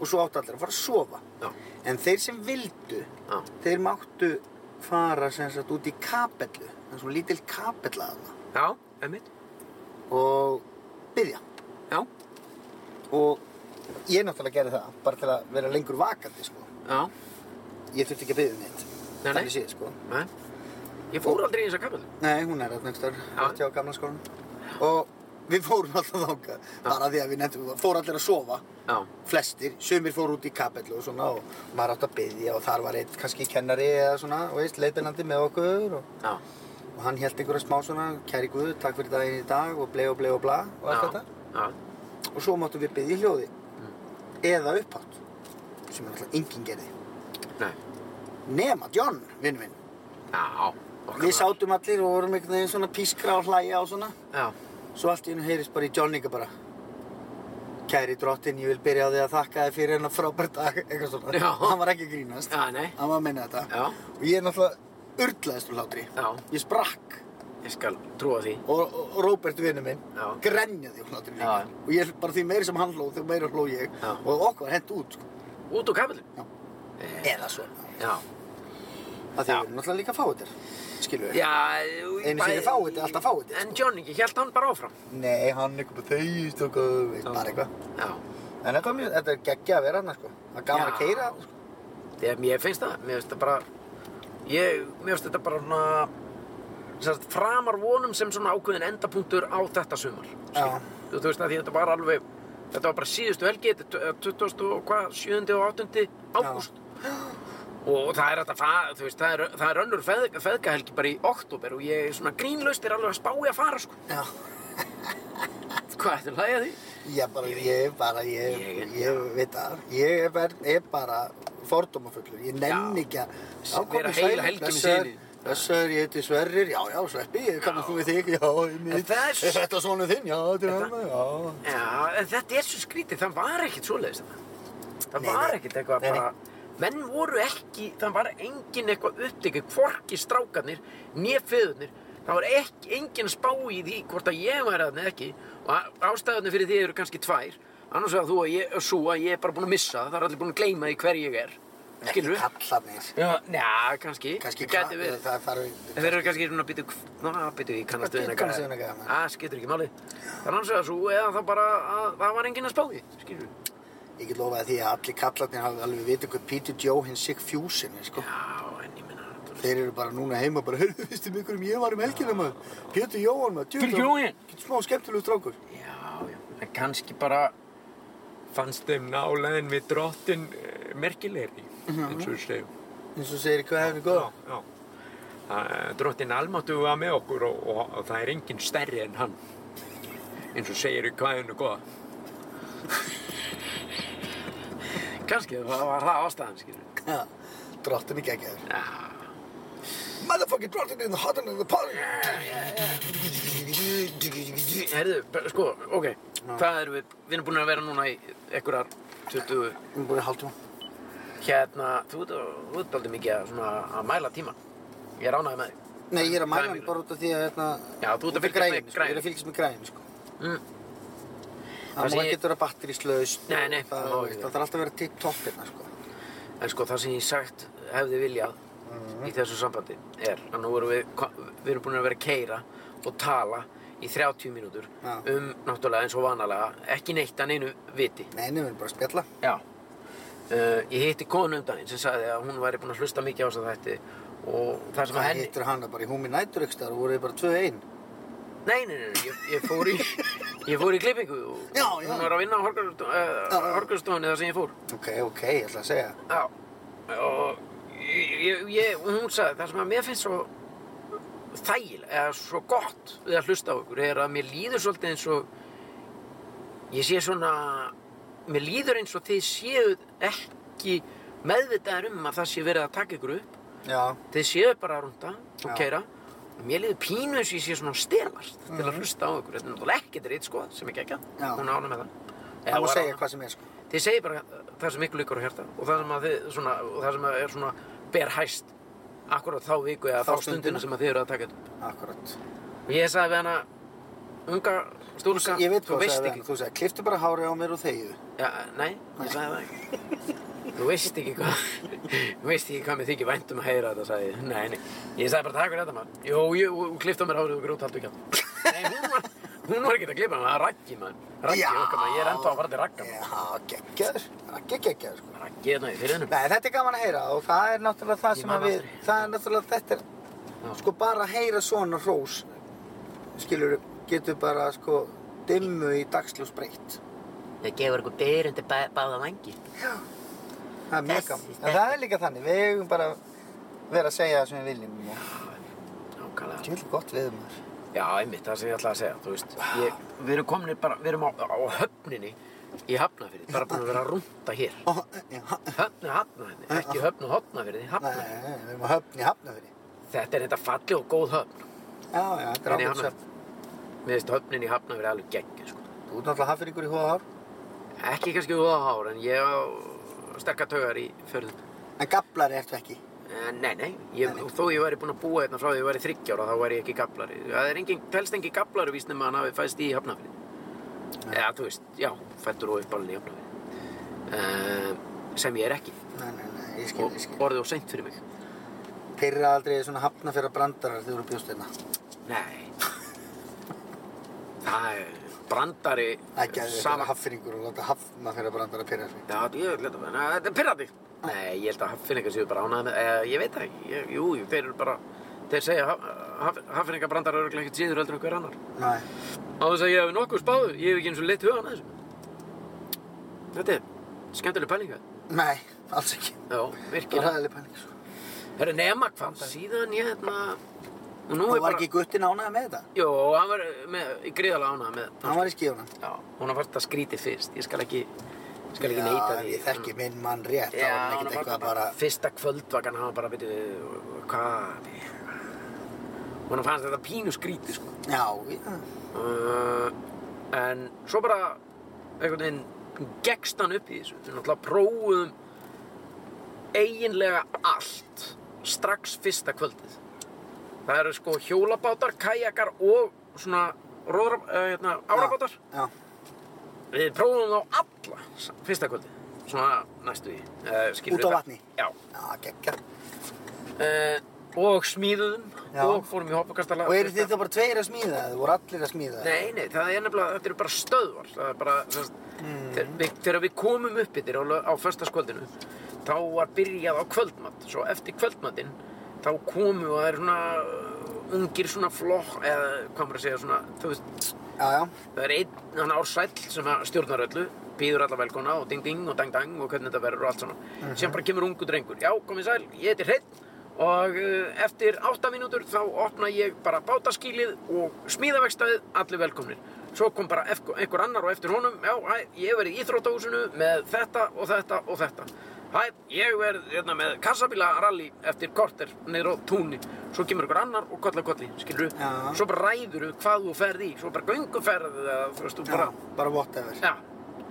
B: og svo áttu allir að fara að sofa.
A: Já.
B: En þeir sem vildu,
A: Já.
B: þeir máttu fara sem sagt út í kapellu, það er svona lítil kapella aðna
A: Já, emmitt.
B: og byrja.
A: Já.
B: Og ég náttúrulega gerði það, bara til að vera lengur vakandi sko.
A: Já.
B: Ég þurfti ekki að byrja um neitt.
A: Nei, nei.
B: Þannig séð sko.
A: Nei. Ég fór aldrei í þessa kapellu.
B: Nei, hún er alltaf einhverstaðar, rétt hjá gamla skólanum. Og við fórum alltaf þangað, bara því að við nefndum, fór allir að sofa,
A: Já.
B: flestir, sumir fóru út í kapellu og svona og maður átt að byggja og þar var einn kannski kennari eða svona, þú veist, leitinandi með okkur og,
A: Já.
B: og hann held einhverja smá svona, kæri guð, takk fyrir daginn í dag og blei og blei og bla og allt
A: Já.
B: þetta.
A: Já.
B: Og svo máttum við byggja í hljóði, eða upphátt, sem er alltaf enginn gerði.
A: Nei.
B: Nema John, vinnu minn.
A: Já. Okkar
B: Við
A: maður.
B: sátum allir og vorum einhvern veginn svona pískra og hlæja og svona.
A: Já.
B: Svo allt í hennu heyrist bara í Johnnyka bara Kæri drottin, ég vil byrja á því að þakka þið fyrir hennar frábært dag eitthvað svona,
A: Já.
B: hann var ekki að grínast
A: Já, nei.
B: hann var að minna þetta
A: Já.
B: og ég er náttúrulega urlaðist úr hlátri
A: Já.
B: ég sprakk
A: Ég skal trúa því.
B: og, og og Róbert vinnu minn
A: Já.
B: grenjaði úr hlátri líka
A: Já, já.
B: og ég bara því meiri sem hann hló, þegar meira hló ég
A: Já.
B: og okkur var hent út sko.
A: Út úr kapellu.
B: Já.
A: Eh,
B: eða svona
A: Já.
B: að því
A: Já.
B: við erum náttúrulega líka fáið skilu við
A: Já. jú,
B: Einu
A: bæ-
B: sinni fáið þetta, alltaf fáið þetta,
A: En John ekki, held hann bara áfram.
B: nei, hann eitthvað bara þegist og eitthvað, veist,
A: Já.
B: bara eitthvað
A: Já.
B: en þetta, var mjög- þetta er geggja að vera hann sko. það er gaman að
A: Já.
B: keira sko.
A: Þegar mér finnst það, mér finnst það bara, ég, mér finnst þetta bara svona, sérst, framar vonum sem svona ákveðin endapunktur á þetta sumar.
B: Já.
A: Þú, þú veist að því þetta var alveg, þetta var bara síðustu helgi, þetta er 20. og hvað, 7. og 8. ágúst. Og það er þetta, þú veist, það er, það er önnur feð, feðgahelgi bara í oktober og ég svona grínlaust er alveg að spái að fara, sko.
B: Já.
A: Hvað ætti að hlæja því?
B: Já, bara, ég, bara, ég,
A: Ég-
B: ég, veit það. Ég er, ver- er bara fordómafullur. Ég
A: Já.
B: nenni ekki að...
A: Vera heila helgi með syni.
B: Blessaður, ég heiti Sverrir, já, já, Sveppi, ég kannast nú við þig, já, ég mitt.
A: Það er svo-
B: Er þetta svona þinn, já, þetta er hann, já.
A: Já, en þetta er svo skrítið, það var ekkert svoleiðis þetta. Það
B: Nei,
A: var
B: nei.
A: ekkert eitthvað
B: Nei, nei.
A: bara, menn voru ekki, það var engin eitthvað upptekið, hvorki strákarnir, né föðurnir, það var ekki, engin spá í því hvort að ég væri þarna eða ekki og a- ástæðunni fyrir því eru kannski tvær, annars vegar þú að ég, svo að ég er bara búin að missa það, það er allir búin að gleyma því hver ég er, skilur við?
B: Kallarnir.
A: Já, njá, kannski,
B: Kannski,
A: það gæti
B: kall-
A: verið.
B: það þarf,
A: En þeir eru kannski svona býtu, na, býtu, ég kannast við hennar
B: Ég kannast við þennan gæja, maður.
A: Að, skiptir ekki máli. Það er hans vegar svo, eða það bara, að, það var enginn að spá því, skilur við.
B: ég get lofaði því að allir kallarnir hafa alveg vitað hvað Peter Joe hinn Sig Fusion er, sko.
A: Já, en ég minna,
B: Þeir eru bara núna heima bara, heyrðu, veistu mig hverjum ég var um helgina maður? Pétur Jóhann maður, djöfull,
A: Pétur Jóhann?
B: Getur smá skemmtilegu strákur.
A: já, já, en kannski bara fannst þeim nálegin við drottin uh, merkilegri, eins og við segjum.
B: Eins og segir hvað hefur góða.
A: Já. Drottin Almáttu var með okkur og, og, og það er enginn stærri en hann. Eins og segir í kvæðinu góða. Kanski það var það ástæðan, skilur við.
B: Já, drottin ekki ekki þér.
A: Já.
B: Motherfucking drottin in the hot and in the pot.
A: Herðu, bara, sko, ok, hvað erum við, við erum búin að vera núna í einhverjar 20,
B: Við erum búin að halda hún.
A: hérna, þú ert þú ert aldrei mikið að, svona, að mæla tíman, ég er ánægði með þig.
B: Nei, ég er að mæla
A: Grænu.
B: hann bara út af því að hérna...
A: Já, þú ert að
B: út af
A: fylgjast með græjunni.
B: græjunni, sko. Ég er að fylgjast með græðinu, sko.
A: Mm. Það
B: Það má
A: sé-
B: ekkert vera batterislaust.
A: Nei, nei,
B: Það,
A: má
B: það,
A: ekki.
B: það þarf alltaf að vera tipp topp hérna, sko.
A: En sko, það sem ég sagt hefði viljað
B: Mhm.
A: í þessu sambandi er að nú erum við, ko- við erum búin að vera að keira og tala í 30 mínútur
B: Já.
A: um, náttúrulega eins og vanalega, ekki neitt að neinu viti.
B: Nei, nei, við erum bara að spjalla.
A: Já. Uh, ég hitti konu um daginn sem sagði að hún væri búin að hlusta mikið á þess að þetta og það sem að
B: Það
A: henni...
B: hittir hana bara í Humi Nætur ykkur og voru þið bara tvö ein.
A: Nei, nei, nei, nei, ég, ég fór í, ég fór í klippingu og
B: Já, já.
A: hún var að vinna á
B: Já, já.
A: horgurstofunni þar sem ég fór.
B: Ok, ok, ég ætla að segja.
A: Já. Og ég, ég, og hún sagði það sem að mér finnst svo þægilega, eða svo gott við að hlusta á ykkur er að mér líður svolítið eins og ég sé svona, mér líður eins og þið séu ekki meðvitaðir um að það sé verið að taka ykkur upp
B: Já.
A: þið séu bara að runda og
B: Já.
A: keira og mér liður pínu eins og ég sé svona að stelast til að hlusta á ykkur, þetta er náttúrulega ekkert reitt sko sem ekki ekki,
B: Mhm. Já.
A: hún ána með það Eða
B: Það má
A: var
B: segja
A: ánægð.
B: hvað sem er sko.
A: þið segir bara það sem ykkur líkur á hérta og það sem að þið svona, og það sem að er svona ber hæst akkurat þá viku eða
B: Þá
A: þá stundina
B: stundina.
A: sem að þið eru að taka þetta upp.
B: Akkurat.
A: og ég sagði við hana unga stúlka,
B: Ég veit
A: þú
B: hvað
A: veist
B: sagði
A: ekki
B: hann. Þú sagði, kliftu bara hárið á mér og þegju.
A: Já, nei, ég sagði það ekki. Þú veist ekki hvað, þú veist ekki hvað mér þykir vænt um að heyra þetta, sagði ég. Nei, nei, ég sagði bara takk fyrir þetta maður. Jú, jú, hún klippti á mér hárið og grút haldur ekki á. Nei, hún var, hún var ekki að klippa, hann var Raggi maður. Raggi
B: Já.
A: okkar maður, ég er enda að fara til Ragga maður.
B: Já, geggjaður. Ekki geggjaður sko.
A: Raggi hérna er náttúrulega fyrir hennum.
B: Nei, þetta er gaman að heyra og það er náttúrulega það
A: Ég
B: sem
A: man
B: að við,
A: aldrei.
B: það er náttúrulega þetta er,
A: Já.
B: sko bara að heyra svona hrós, skilur, getur bara sko dimmu í dagsljós breytt.
C: Það gefur eitthvað byr undir bæ, báða vangi.
B: Það er mjög
C: Þessi
B: gaman. En
C: stelpa.
B: það er líka þannig, við eigum bara að vera að segja það sem við viljum. og
A: Nákvæmlega.
B: Tjölu gott við maður.
A: Já, einmitt, það sem ég ætlaði að segja, þú veist. Ég, við erum komin bara, við erum á, á höfninni í Hafnafyrði, bara búin að vera að rúnda hér.
B: Ó, já,
A: Höfnu Hafnafyrði, ekki höfnu Hotnafyrði,
B: Nei,
A: Hafnafyrði.
B: nei, nei, við erum að höfn í hafnafyrir.
A: Þetta er þetta falli og góð höfn.
B: Já, já, þetta er
A: En í
B: ákveðsöfn.
A: Hafnarfirði. Mér finnst höfnin í Hafna verið alveg gegn, sko.
B: Þú ert náttúrulega hafður ykkur í hóða hár.
A: Ekki kannski úða hár, en ég á sterkar taugar í fjörðum.
B: En gablari ertu ekki.
A: En Eh, Nei, nei, ég, og þó ég væri búinn að búa hérna frá því ég væri 30 ára, þá væri ég ekki gablari. Það er engin, telst engin gablari vísn um að hann hafi fæðst í Hafnafrið. Eða, þú veist, já, fættur og uppalinn í Hafnafrið. Uh, sem ég er ekki.
B: Nei, nei, nei, ég skil,
A: Og
B: ég skil.
A: orðið og seint fyrir mig.
B: Pyrra aldrei svona hafna fyrir brandarar þegar þú bjóst hérna.
A: Nei. Það er brandari
B: Ekki að þið
A: sama
B: vera haffyringur og láta hafna fyrir brandarar pyrra sig.
A: Já, ég held að Nei, þetta er pirrandi. Nei, ég held að haffinningar séu bara ánæðið með, eh, ég veit það ekki, ég, jú, jú, þeir eru bara, þeir segja haf, haf, haffinningabrandar eru ekkert síður heldur en hver annar.
B: Nei.
A: Á þess að ég hefði nokkuð spáðu, ég hef ekki eins og leitt hugan að þessu. Þetta er skemmtileg pælinga.
B: Nei, alls ekki.
A: Já,
B: Það er
A: virkilega.
B: hæðileg pæling sko. svo.
A: Herra, nema hvað, síðan ég hérna, og nú
B: Hún
A: er
B: var
A: bara,
B: ekki gutti nánaði með þetta.
A: jú, hann var með, gríðalega ánæðið með,
B: Hann var í skífunum.
A: já, hún var fast að skríti fyrst, ég skal ekki, ég skal ekki neita því. Mm.
B: ég þekki minn mann rétt.
A: Já,
B: Það var
A: hann
B: ekkert
A: var
B: eitthvað
A: bara,
B: bara...
A: fyrsta kvöldvakan, hann var bara, veitu, hvað, Hún fannst þetta pínu skríti, sko.
B: Já, já.
A: Uh, en svo bara einhvern veginn gekkst hann upp í þessu. Við náttúrulega prófuðum eiginlega allt strax fyrsta kvöldið. Það eru sko hjólabátar, kajakar og svona róðra, uh, hérna, árabátar.
B: Já,
A: Við prófum þá alla s- fyrsta kvöldi Svona næstu í uh,
B: Út á vatni?
A: Já
B: já, geggjað.
A: uh, Og smíðuðum
B: Já.
A: Og fórum í hoppakastala
B: Og eru þið þá bara tveir að smíða eða voru allir að smíða?
A: Nei, nei, það er nefnilega, þetta eru bara stöðvar Það er bara, þess, mm. þegar, við, þegar við komum upp yfir á, lö- á föstaskvöldinu Þá var byrjað á kvöldmatt Svo eftir kvöldmattinn Þá komu og það er svona uh, Ungir svona flokk Eða hvað maður að segja svona Þú veist,
B: Já, já,
A: Það er einn, hann ársæll sem að stjórnar öllu, býður alla velkona og ding ding og dang dang og hvernig þetta verður og allt svona. Uh Síðan bara kemur ungu drengur, já komið sæl, ég heiti Hreinn og uh, eftir átta mínútur þá opna ég bara bátaskýlið og smíðavegstaðið, allir velkomnir. Svo kom bara ef- einhver annar og eftir honum, já, hæ, ég hef verið í Íþróttahúsinu með þetta og þetta og þetta. Hæ, ég hef verið hérna, með kassabíla rally eftir korter niður á túnni. Svo kemur einhver annar og kolla kolli, skilur
B: Já.
A: Svo bara ræður þú hvað þú ferð í, svo bara gönguferð eða þú veist, þú
B: bara,
A: bara,
B: bara whatever.
A: já.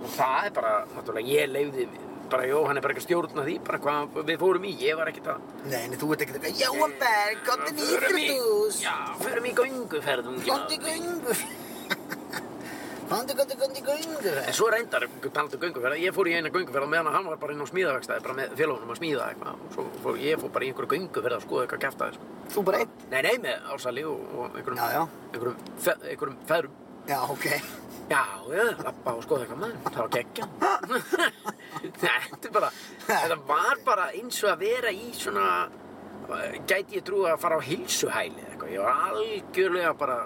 A: Og það er bara, náttúrulega, ég leiði, bara, jó, hann er bara ekki að stjórna því, bara hvað við fórum í, ég var ekkert að...
B: Nei, en þú ert ekkert eitthvað, já, Berg, komdu í íþróttús,
A: Já, förum í gönguferð, ungi
B: komdu í
A: maður.
B: göngu. Komdu, komdu, komdu í göngu.
A: En svo reyndar, talandi um gönguferð, ég fór í eina gönguferð á meðan að hann var bara inn á smíðavegstaði, bara með félagunum að smíða eitthvað, og svo fór ég fór bara í einhverju gönguferð að skoða eitthvað kæftaði, sko.
B: Þú bara einn?
A: Nei, nei, með Ársali og, og einhverjum,
B: Já, já.
A: einhverjum, fe, einhverjum feðrum.
B: Já, ok.
A: Já, já, lappa og skoða eitthvað maður, það var geggja. þetta er bara, þetta var bara eins og að vera í svona, gæti ég trúið að fara á hilsuhæli eða eitthvað. Ég var algjörlega bara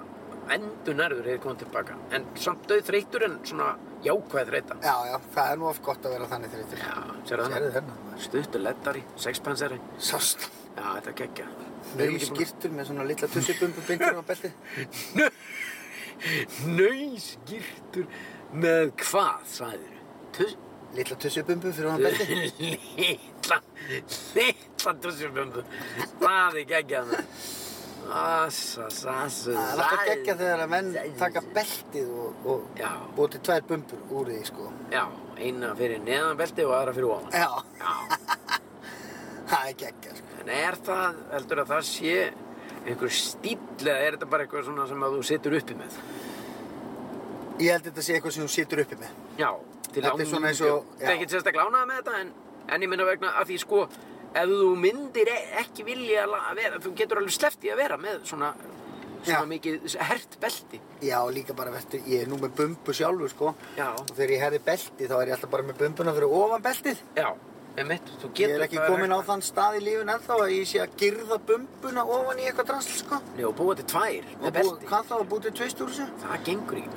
A: endur nærður hefði komið tilbaka. En samt döð þreytur en svona jákvæð þreyta.
B: Já, já, það er nú oft gott að vera þannig þreytur.
A: Já, sérðu
B: Sérðu
A: það?
B: þennan, maður.
A: Stuttur lettari, sexpansari.
B: Sást.
A: Já, þetta er geggja.
B: Nau skýrtur með svona litla tussibumbu bindurinn á belti.
A: Nauðskýrtur með hvað, sagðir? Tuss...
B: Litla tussibumbu fyrir hann belti.
A: litla litla dussjubömbu það er geggjað maður. Assa, sassu
B: Það er alltaf geggja þegar að menn taka beltið og, og
A: Já,
B: búið til tvær bumbur úr því, sko.
A: já, eina fyrir neðanbelti og aðra fyrir ofan
B: Já,
A: Já,
B: það er geggja, sko.
A: en er það, heldur að það sé einhver stíll eða er þetta bara eitthvað svona sem að þú situr uppi með
B: Ég held að þetta sé eitthvað sem þú situr uppi með.
A: Já, til
B: Þetta er svona eins og-
A: Það er
B: já.
A: ekkert sérstaklega ánægða með þetta en, en ég minna vegna að því sko ef þú myndir e- ekki vilja la- vera, þú getur alveg sleppt í að vera með svona, svona
B: Já.
A: mikið hert belti
B: Já, og líka bara, veistu, ég er nú með bumbu sjálfur, sko.
A: Já,
B: Og þegar ég herði belti, þá er ég alltaf bara með bumbuna fyrir ofan beltið.
A: já, emitt, þú
B: Ég
A: getur
B: er ekki komin á þann stað í lífun ennþá að ég sé að girða bumbuna ofan í eitthvað dransl, sko.
A: Nei, og búa til tvær
B: Og
A: með
B: búið,
A: belti
B: hvað þá að búið til tveist úr þessu?
A: Það gengur ekki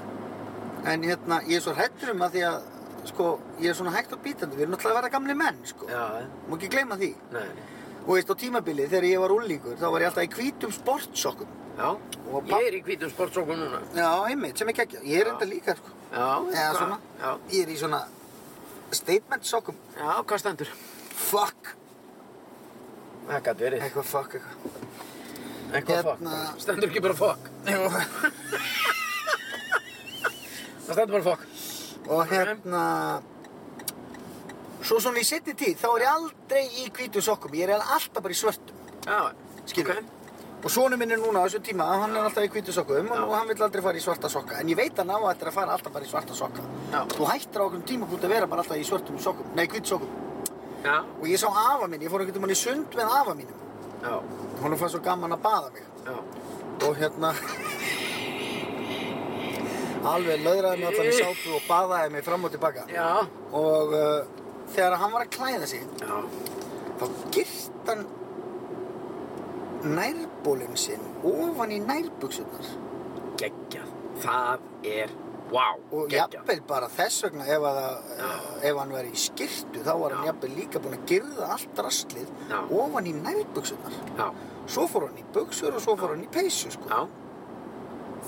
B: En hérna, ég er svo hrættur um að því að, sko, ég er svona hægt og bítandi. Við erum náttúrulega að vera gamli menn, sko.
A: Já,
B: Má ekki gleyma því.
A: nei, nei.
B: Og veist, á tímabilið, þegar ég var úlíkur, þá var ég alltaf í hvítum sportsokkum.
A: já,
B: Og papp-
A: ég er í hvítum sportsókum núna
B: Já, einmitt, sem ekki ekki. Ég er enda líka, sko.
A: Já,
B: Eða
A: hvað-
B: svona.
A: Já,
B: Ég er í svona statement sokkum.
A: já, hvað stendur?
B: Fuck.
A: Það gæti verið
B: Eitthvað fuck, eitthvað.
A: Eitthvað
B: Hérna-
A: fokk Stendur ekki bara fokk
B: Jú.
A: Það stendur bara fokk
B: Og hérna... Svo svona í sittni tíð, þá er ég aldrei í hvítum sokkum. Ég er alltaf bara í svörtum.
A: Já,
B: Skilur.
A: ok.
B: Og sonu minn er núna á þessum tíma, hann er alltaf í hvítu sokkum og hann vil aldrei fara í svarta sokka. En ég veit að ná að þetta er að fara alltaf bara í svarta sokka.
A: Já.
B: Þú hættir á okkur tímabúti að vera bara alltaf í svörtum sokkum, nei hvítu sokkum.
A: Já,
B: Og ég sá afa minn, ég fór einhvern tímann í sund með afa mínum.
A: já,
B: Honum fannst svo gaman að baða mig.
A: já
B: Og hérna... Alveg löðraði mig allan í sápu og baðaði mig fram og tilbaka.
A: Já,
B: Og uh, þegar hann var að klæða sig,
A: já,
B: þá girt hann nærbólinn sinn ofan í nærbuksunar.
A: geggjað Það er, wow,
B: og jafnvel bara þess vegna ef, að, það- ef hann var í skirtu þá var hann
A: Já.
B: jafnvel líka búinn að girða allt rastlið
A: Já.
B: ofan í nærbuksunar
A: Já,
B: svo fór hann í buksur og svo fór hann í peysu sko.
A: já,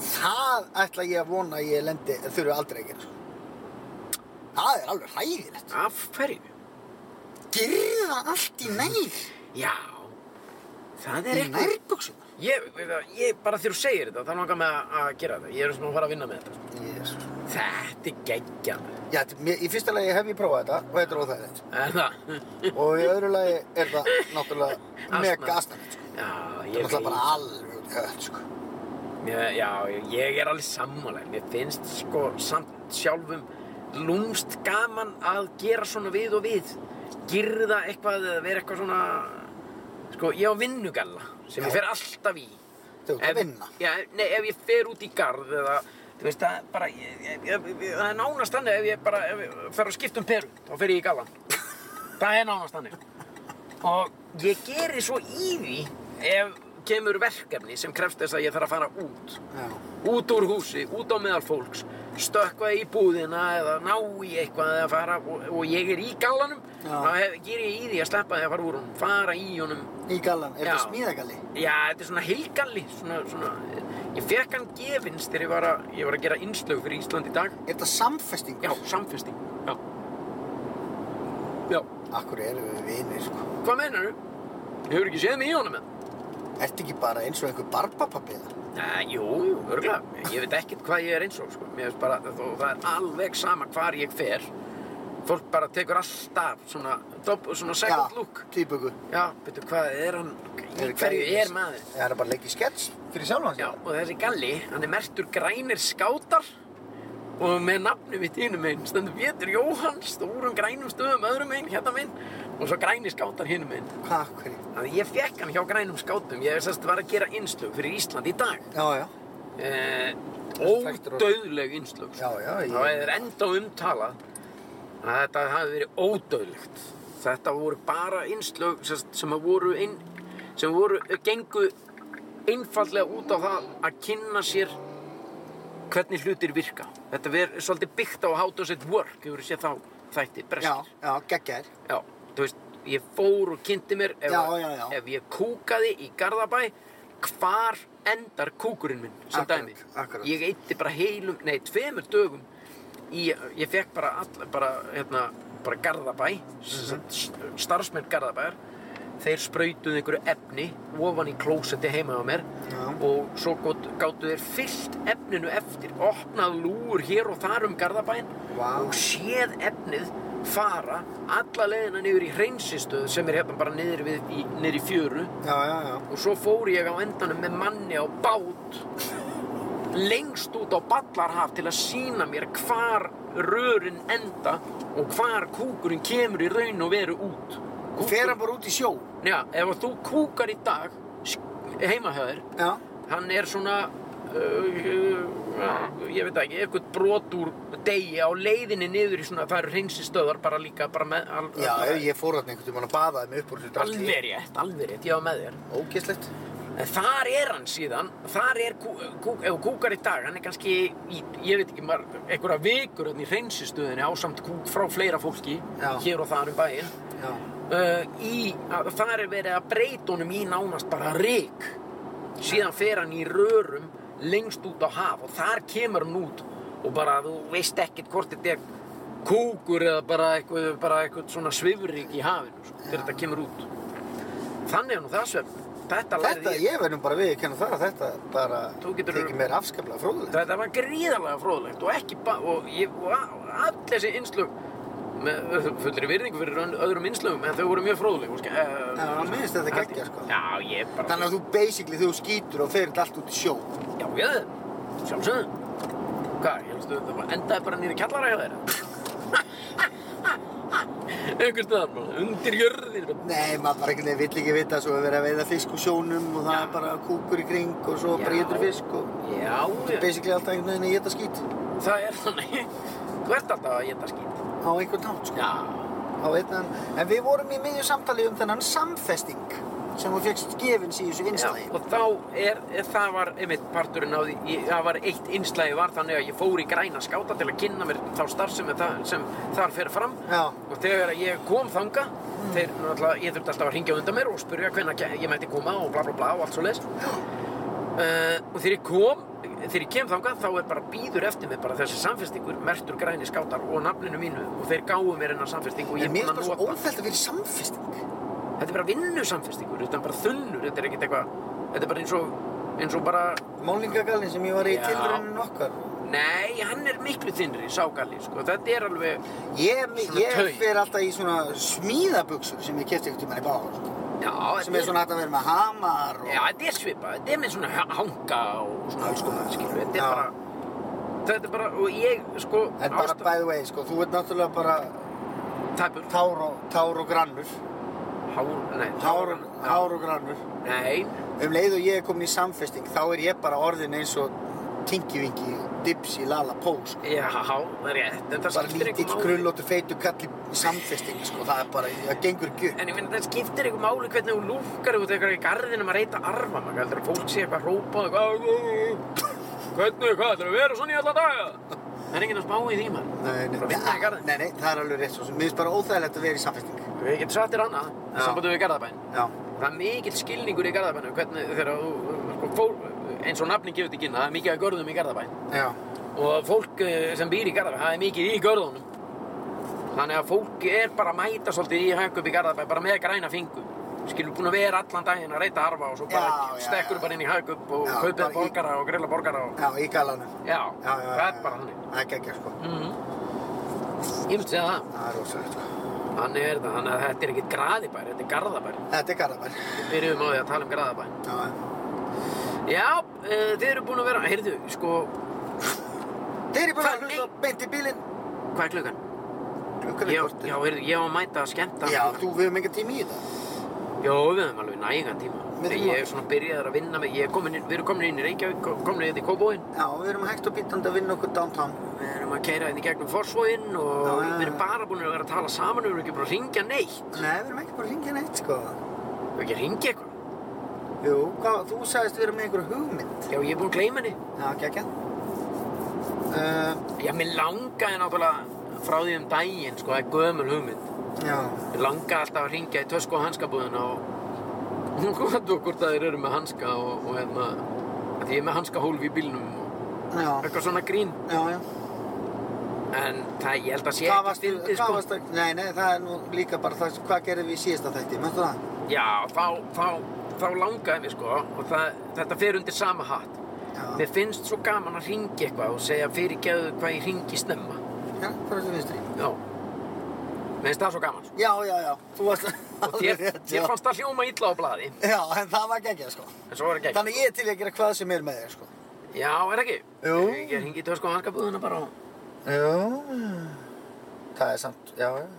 B: það ætla ég að vona að ég lendi þurfi aldrei að gera sko. það er alveg hræðilegt
A: af hverju?
B: girða allt í nær
A: Já, Það
B: Í
A: er eitthvað.
B: nærbuxum?
A: Ég, veit það, ég bara þegar þú segir þetta, þá langar mig að- að gera þetta. Ég er svona að fara að vinna með þetta. sko.
B: Jésus.
A: Þetta er geggjað.
B: Já, þetta- mér- í fyrsta lagi hef ég prófað þetta og þetta er óþægilegt.
A: Er það?
B: Og í öðru lagi er það náttúrulega mega astanlegt, sko.
A: Já,
B: Það er
A: ég
B: náttúrulega bara alveg út í hött, sko.
A: Mér, já, ég er alveg sammálega. Mér finnst sko samt sjálfum lúmst gaman að gera svona við og við. Girða eitthvað eða vera eitthvað svona... Sko, ég á vinnugalla sem
B: Já.
A: ég fer alltaf í.
B: Þú ert að
A: Ef-
B: vinna.
A: Já, nei, ef ég fer út í garð eða... Þú veist, það er bara... Ég, ég, ég, ég, það er nánast þannig ef ég bara ef ég fer að skipta um peru. Þá fer ég í gallan. það er nánast þannig. Og ég geri svo í því ef kemur verkefni sem krefst þess að ég þarf að fara út
B: Já.
A: út úr húsi, út á meðal fólks stökkva í búðina eða ná í eitthvað eða fara og, og ég er í gallanum
B: Já.
A: þá hef, ger ég í því að sleppa því að fara úr honum fara í honum
B: Í gallan, er
A: Já.
B: þetta smíðagalli?
A: já, þetta er svona heilgalli svona, svona, ég fekk hann gefinns þegar ég var, að, ég var að gera innslög fyrir Ísland í dag
B: Er þetta samfestingur?
A: já, samfesting já, já.
B: Akkur erum við vinir, sko.
A: hvað meinar þú? hefur ekki séð mig í honum eða?
B: Ertu ekki bara eins og einhver barbapapiða?
A: Nei, jú, jú, örgulega. Ég veit ekkert hvað ég er eins og, sko. Mér finnst bara, þó, það er alveg sama hvar ég fer. Fólk bara tekur alltaf svona, dob, svona second look.
B: tvíböku.
A: Já, betur hvað er hann, í
B: Eru
A: hverju
B: gæjar-
A: er maður?
B: Það er bara að leggja í skets fyrir sjálfan sig.
A: Já, og þessi galli, hann er mertur grænir skátar og með nafnum mitt hinum einn, stendur Pétur Jóhann, stórum grænum stöðum öðrum einn, hérna minn, og svo grænir skátar hinum einn.
B: Hvað, af hverju?
A: Þannig að ég fekk hann hjá grænum skátum, ég sérst var að gera innslög fyrir Ísland í dag.
B: Já, já.
A: eh,
B: þekktur orð.
A: ódauðleg innslög sko.
B: Já, já, ég-
A: það er enda umtalað að þetta hafi verið ódauðlegt þetta voru bara innslög sem, sem að voru inn, sem voru eh, gengu einfallega út á það að kynna sér hvernig hlutir virka þetta verður svolítið byggt á how does it work hefur séð þá þætti
B: Já,
A: breskir
B: já, geggjaðir.
A: Já, þú veist, ég fór og kynnti mér ef,
B: Já, já, já.
A: ef ég kúkaði í Garðabæ hvar endar kúkurinn minn sem
B: Akkurat,
A: dæmi
B: akkurat.
A: ég eitti bara heilum, nei, tveimur dögum í, ég fekk bara, all, bara, hérna, bara Garðabæ
B: Mhm.
A: mm -hmm. starfsmenn Garðabæjar þeir sprautuðu einhverju efni ofan í klósetti heima á mér
B: Já.
A: og svo gott- gátu þeir fyllt efninu eftir opnað lúur hér og þar um Garðabæin
B: Vá.
A: og séð efnið fara alla leiðina niður í hreinsistöð sem er hérna bara niður, við, í, niður í fjöru
B: Já, já, já.
A: og svo fór ég á endanum með manni á bát lengst út á ballarhaf til að sína mér hvar rörin enda og hvar kúkurinn kemur í raun og veru út
B: Og fer hann bara út í sjó?
A: Já, ef að þú kúkar í dag sk- heima hjá þér
B: Já.
A: hann er svona uh, uh, ég veit ekki, eitthvað brot úr degi á leiðinni niður í svona, það eru hreinsistöðar bara líka bara með al,
B: Já, ef ég fór hann einhvern tímann að baðaði mig upp úr þessu drasli.
A: alveg rétt, alveg rétt, ég var með þér
B: Ógeðslegt.
A: en þar er hann síðan þar er, kú, kú, ef þú kúkar í dag hann er kannski, í, ég veit ekki maður, einhverja vikur hann í hreinsistöðinni ásamt kúk frá fleira fólki
B: Já.
A: hér og þar um bæinn
B: Já.
A: uh, í, að, þar er verið að breyta honum í nánast bara rík síðan fer hann í rörum lengst út á haf og þar kemur hann út og bara þú veist ekkert hvort þetta er kúkur eða bara eitthvað, bara eitthvað svona svifrík í hafinu sko, þegar þetta kemur út þannig er nú það svefn þetta,
B: Þetta,
A: lærði
B: ég verðum bara við að kenna það að þetta bara
A: Þú getur-
B: tekið mér afskaplega fróðilegt.
A: þetta var gríðarlega fróðlegt og ekki ba og, ég, og a- all þessi innslög með ö, fullri virðingu fyrir ön- öðrum innslögum en þau voru mjög fróðleg og, uh,
B: Já, mér finnst þetta geggja, sko.
A: já, ég bara
B: Þannig að þú basically, þegar þú skýtur og fer þetta allt út í sjó.
A: Já, já, sjálfsögðu. Hvað, ég helstu þetta bara endaði bara nýri kjallara hjá þeirra? Einhvers staðar bara, undir jörðin.
B: Nei, maður bara einhvern veginn vill ekki vita svo að vera að veiða fisk úr sjónum og það er bara kúkur í kring og svo
A: Já.
B: bara getur fisk og
A: Já, já,
B: basically alltaf einhvern veginn að geta skýt
A: það er þannig. Þú ert alltaf að geta skýt.
B: á einhvern nátt, sko.
A: Já,
B: Á einhvern, en við vorum í miðju samtali um þennan samfesting sem þú fegst gefins í þessu
A: já,
B: innstæði.
A: og þá er, er, það var, einmitt, parturinn á því, ég- það var eitt einslægi var þannig að ég fór í græna skáta til að kynna mér þá starfsemi það, sem þar fer fram.
B: Já. Mm.
A: Og þegar ég kom þanga, þeir náttúrulega, ég þurfti alltaf að hringja á undan mér og spurja hvenna ég mætti koma og bla bla bla og allt svo leiðis. Uh, og þegar ég kom, þegar ég kem þangað, þá er bara býður eftir mig bara þessi samfestingur, mertur græni skátar og nafninu mínu og þeir gáðu mér hennar samfesting og ég er
B: En mér
A: búinn
B: er
A: að
B: bara svo
A: nota.
B: óþælt að vera í samfesting.
A: þetta er bara vinnusamfestingur, þetta er bara þunnur, þetta er ekkert eitthvað, þetta er bara eins og, eins og bara,
B: Málningagallin sem ég var í
A: Já.
B: tilraunin okkar.
A: nei, hann er miklu þunnri, ságalli, sko, þetta er alveg,
B: Ég,
A: Svona
B: ég
A: taug.
B: fer alltaf í svona smíðabuxur sem ég kefti ekkert í manni báður.
A: já,
B: Sem er svona hægt að vera með hamar og...
A: já, þetta er svipað, þetta er með svona ha- hanga og svona alls konar, skilu, þetta
B: Já.
A: er bara, þetta er bara, og ég, sko,
B: En bara by the way, sko, þú veit náttúrulega bara
A: tæpur,
B: tár og, tár og grannur.
A: hár, nei,
B: Tár,
A: já.
B: tár og grannur.
A: nei,
B: Um leið og ég er komin í samfesting, þá er ég bara orðin eins og tingivingi, dipsi, lala, pó, sko.
A: já, það er rétt, en það
B: Bara
A: skiptir
B: lítill,
A: einhver máli.
B: krullóttu, feitu kall í samfesting, sko. Það er bara, það gengur ekki upp.
A: En ég meina, það skiptir eitthvað máli hvernig þú lúfkar út eitthvað í garðinum að reyta arfa, maður heldur að fólk sé eitthvað að hrópa og eitthvað Hvernig, hvað, ætlar að vera svona í alla daga? Það er enginn að spá í því, maður
B: Nei, nei,
A: Bara vinna í garðin
B: nei, nei, það er alveg rétt svo sem. Mér finnst bara óþægilegt að vera í samfesting.
A: Við getum satt þér annað,
B: Já.
A: í sambandum við garðabæn
B: Já.
A: Það er mikill skilningur í garðabænum, hvernig þegar þú, sko, fól, eins og nafnin gefur til kynna, það er mikið að görðum í garðabæn
B: Já.
A: Og fólk eh, sem býr í garðabæn, það er mikið í görðunum Þannig að fólk er bara að mæta svolítið í hækku upp í Garðabæ, bara með græna fingur. Skilur búin að vera allan daginn að reyta arfa og svo bara
B: Já, já,
A: stekkur
B: já.
A: bara inn í hækku upp og
B: Já,
A: kaupið
B: bara í-
A: borgara og grilla borgara og...
B: Já, í galanum.
A: Já,
B: Já, já,
A: það er
B: já,
A: bara
B: já.
A: hannig.
B: Það er geggja, sko.
A: Mm Ég myndi segja það.
B: Það er óþægilegt, sko.
A: Þannig er þetta, þannig að þetta er ekkert graðibær, þetta er Garðabær.
B: Þetta er garðabær.
A: Við byrjuðum á því að tala um Garðabær.
B: Já, já.
A: Já, e, þið eru búin að vera, heyrðu, sko,
B: Þeir eru búin að
A: Hvað?
B: hlusta beint í bílinn.
A: hvað er klukkan?
B: Klukkan er
A: Ég,
B: kortir.
A: já, heyrðu, ég á að mæta að skemmta.
B: Já, þú, við höfum engan tíma í þetta.
A: Já, við höfum alveg nægan tíma.
B: Við þurfum
A: Ég
B: að-
A: er svona byrjaður að vinna með, ég er komin inn, við erum komin inn í Reykjavík, komin inn í Kóbóin.
B: Já, við erum hægt og bítandi að vinna okkur downtown.
A: Við erum að keira inn í gegnum Forsvóinn og
B: Já, já, já.
A: við erum bara búin að vera að tala saman, við erum ekki búin að ringja neitt.
B: Nei, við erum ekki bara að ringja neitt, sko.
A: Við erum ekki að ringja eitthvað.
B: Jú, hvað, þú sagðist við erum með einhverju hugmynd.
A: Já, ég er búin að gleyma henni.
B: Já, geggja. Uh,
A: Já, mér langaði náttúrulega frá því um daginn, sko, það er gömul hugmynd.
B: já,
A: Mér langaði alltaf að ringja í tösku og hanskabúðina og hún kom að þú hvort að þeir eru með hanska og, og hérna, að því ég er með hanskahólf í bílnum og
B: já,
A: eitthvað svona grín.
B: já, já.
A: En það, ég held að sé
B: Hvað
A: ekki
B: varst,
A: fyndið,
B: hvað
A: sko.
B: varst, nei, nei, það er nú líka bara það, hvað gerðum við í síðasta þætti, mennstu það?
A: Já, þá, þá, þá langaði mér sko og það, þetta fer undir sama hatt.
B: Já,
A: Mér finnst svo gaman að ringi eitthvað og segja fyrirgeðu hvað ég ringi snemma.
B: já, bara til vinstri.
A: Já. Mér finnst það svo gaman. sko.
B: Já, já, já, þú varst
A: Og þér, þér fannst það hljóma illa á blaði,
B: Já, en það var geggja, sko.
A: en svo er ekki.
B: Þannig ég er til í að gera hvað sem er með þér, sko.
A: Já, er ekki.
B: Jú.
A: Ég ringi í tösku og hanskabúðuna bara og...
B: Já, það er samt, já, já.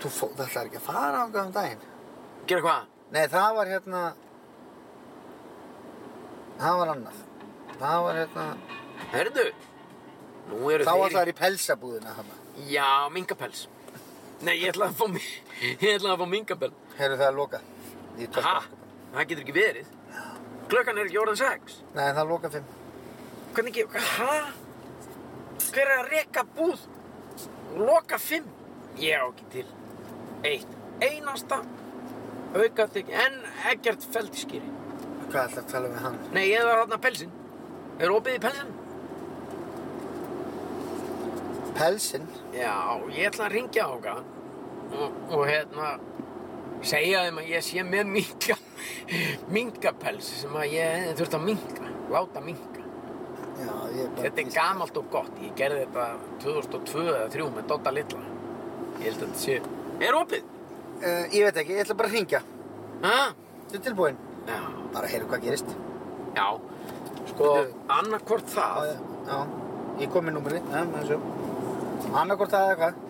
B: Þú fó, það ætlaði ekki að fara ángað um daginn.
A: Gera hvað?
B: Nei, það var hérna, það var annað. Það var hérna,
A: Herðu. Nú eru
B: þá
A: þeir...
B: ætlaði í pelsabúðina hana.
A: Já, minkapels. Nei, ég ætlaði að fá, mi- ég ætlaði að fá minkapel.
B: Heyrðu það er lokað í
A: Ha?
B: tösku.
A: Það getur ekki verið. Klukkan er ekki orðin sex.
B: Nei, það er lokað fimm.
A: Hvernig ekki, hæ? Hver er að reka búð? og Loka fimm? Ég á ekki til. Eitt, einasta, aukaðtök, en ekkert feldskýri.
B: Hvað ætlaði að tala við hann?
A: Nei, ég var þarna pelsin. Er opið í pelsin?
B: Pelsinn?
A: Já, ég ætla að ringja á hana og, og hérna segja þeim að ég sé með minka, minkapels sem að ég þurft að minka, láta minka.
B: Já, ég er bara...
A: Þetta er gamalt og gott. Ég gerði þetta 2002 eða 2003 með Dodda Lilla. Ég held að þetta sé... Er opið?
B: Eh, ég veit ekki, ég ætla bara að ringja.
A: Ha?
B: Þú er tilbúinn?
A: Já.
B: Bara heyrðu hvað gerist.
A: Já. Sko,
B: Bíddu.
A: annarkvort það...
B: Já, já, ég kom með númerið, já, með þessu. Annarkvort það eða hvað?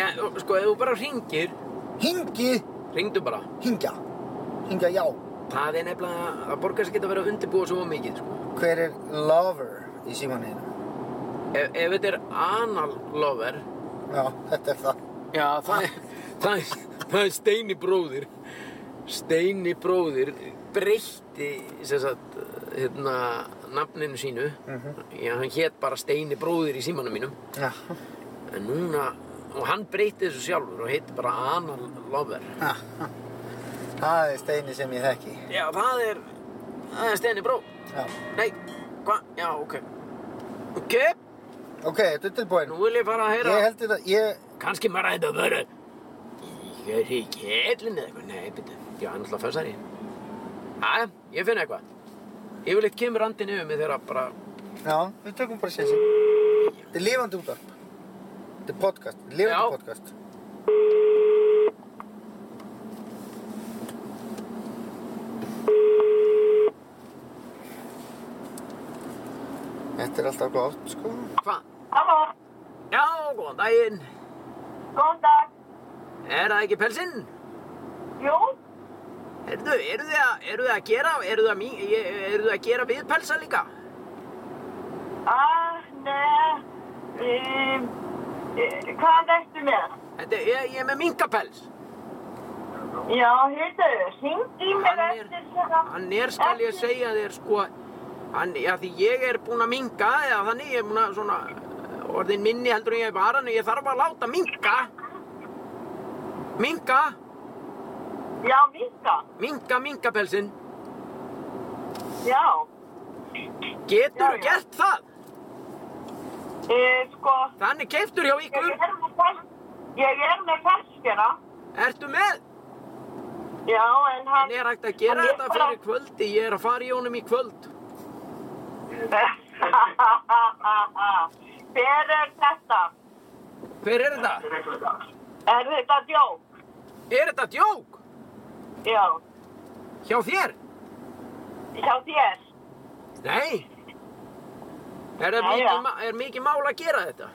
A: Já, sko, ef þú bara ringir,
B: Hingi,
A: ringdu bara.
B: hingja, hingja, já.
A: Það er nefnilega... Það borgar sér geta verið að undirbúa svo mikið, sko.
B: Hver er lover í símaninu?
A: Ef, ef þetta er anal lover...
B: Já, þetta er það.
A: Já, það er... Það er, það er Steini bróðir. Steini bróðir breytti, sem sagt, hérna, nafninu sínu. Já, hann hét bara Steini bróðir í símanum mínum.
B: Já,
A: En núna, og hann breytti þessu sjálfur og heitir bara Anal Lover.
B: já. Það er steini sem ég þekki.
A: Já, það er, það er Steini Bró.
B: Já.
A: Nei, hva? Já, ok. Ok,
B: Ok, þetta er tilbúinn.
A: nú vil ég bara að heyra.
B: Ég held þetta, ég,
A: Kanski maður að þetta verið. Kjöri í kjellin eða eitthvað. Nei, byrju, já, hann er alltaf fessari. Æ, ég finn eitthvað. Yfirleitt kemur andin yfir mig þegar að bara...
B: Já, við tökum bara sér sér. Þetta er lifandi útvarp. Þetta er podcast, þetta er lifandi
A: Já.
B: podcast. Þetta er alltaf gott, sko.
A: Hvað?
D: Halló,
A: Já, góðan daginn.
D: góðan dag.
A: Er það ekki pelsinn?
D: Jú,
A: Herðu, eru þið að, eru þið að gera, eru þið að, mí- ég- eru þið að gera við pelsa líka?
D: að, neða, um, e, hvað ertu með?
A: Þetta, ég, ég er með minkapels.
D: Já, heyrðu, hringd í mig
A: Hann er-
D: eftir þetta.
A: Hann er, skal ég segja þér, sko, hann, já, því ég er búinn að minka, eða þannig, ég er búinn að svona, eh, orðin minni heldur en ég var hann, ég þarf að láta minka. Minka,
D: Já, minka,
A: minka, minkapelsinn.
D: já. Já,
A: Getur
D: já.
A: gert það?
D: E, sko,
A: Þannig keiftur hjá ykkur.
D: ég er með fers, ég er með ferskjara.
A: Ertu með?
D: Já, en
A: En
D: hann,
A: er hægt að gera
D: Hann er
A: þetta
D: bara-
A: fyrir kvöldi, ég er að fara í honum í kvöld.
D: hver er þetta?
A: Hver er þetta?
D: Er þetta djók?
A: Er þetta djók?
D: Já,
A: Hjá þér?
D: hjá þér.
A: Nei. Er, það
D: Já,
A: mikið,
D: já.
A: ma- er mikið mál að gera þetta?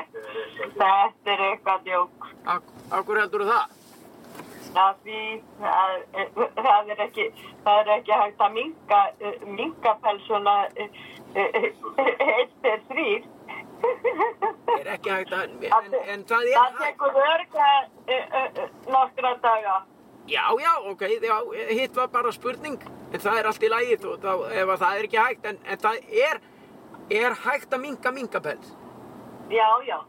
D: Þetta er eitthvað djók.
A: Akkur heldur það?
D: Það, því, það, það, er ekki, það er ekki hægt að minga, minga pelsuna eh, eitt til þrýr.
A: Er ekki hægt að, en, en það er
D: Það
A: hægt.
D: tekur örga eh, eh, eh, nokkra daga.
A: Já, já, ok, já, hitt var bara spurning. En það er allt í lagi, þú, þá, ef að það er ekki hægt, en, en það er, er hægt að minga mingapels.
D: Já, já.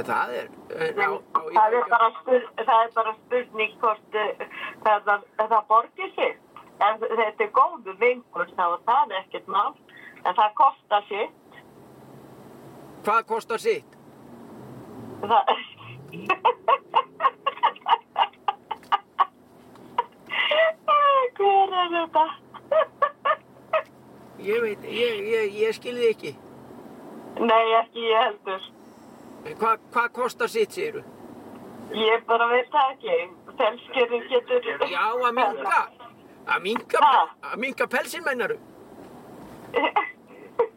A: Það er, eh, já, já, ég veit
D: Það er
A: ekki-
D: bara, spur, það er bara spurning hvort eh, það, það, það borgir sig. En þetta er góðu vingur, þá er það ekkert mál. En það kostar sig.
A: Hvað kostar sitt?
D: Það... Hver er þetta?
A: Ég veit, ég, ég, ég skilði ekki.
D: Nei, ekki ég heldur.
A: En Hvað hva kostar sitt, segirðu?
D: Ég bara veit það ekki. Felskjörin getur...
A: Já, að minga. Að minga,
D: Ha?
A: að minga pelsin, mennaru.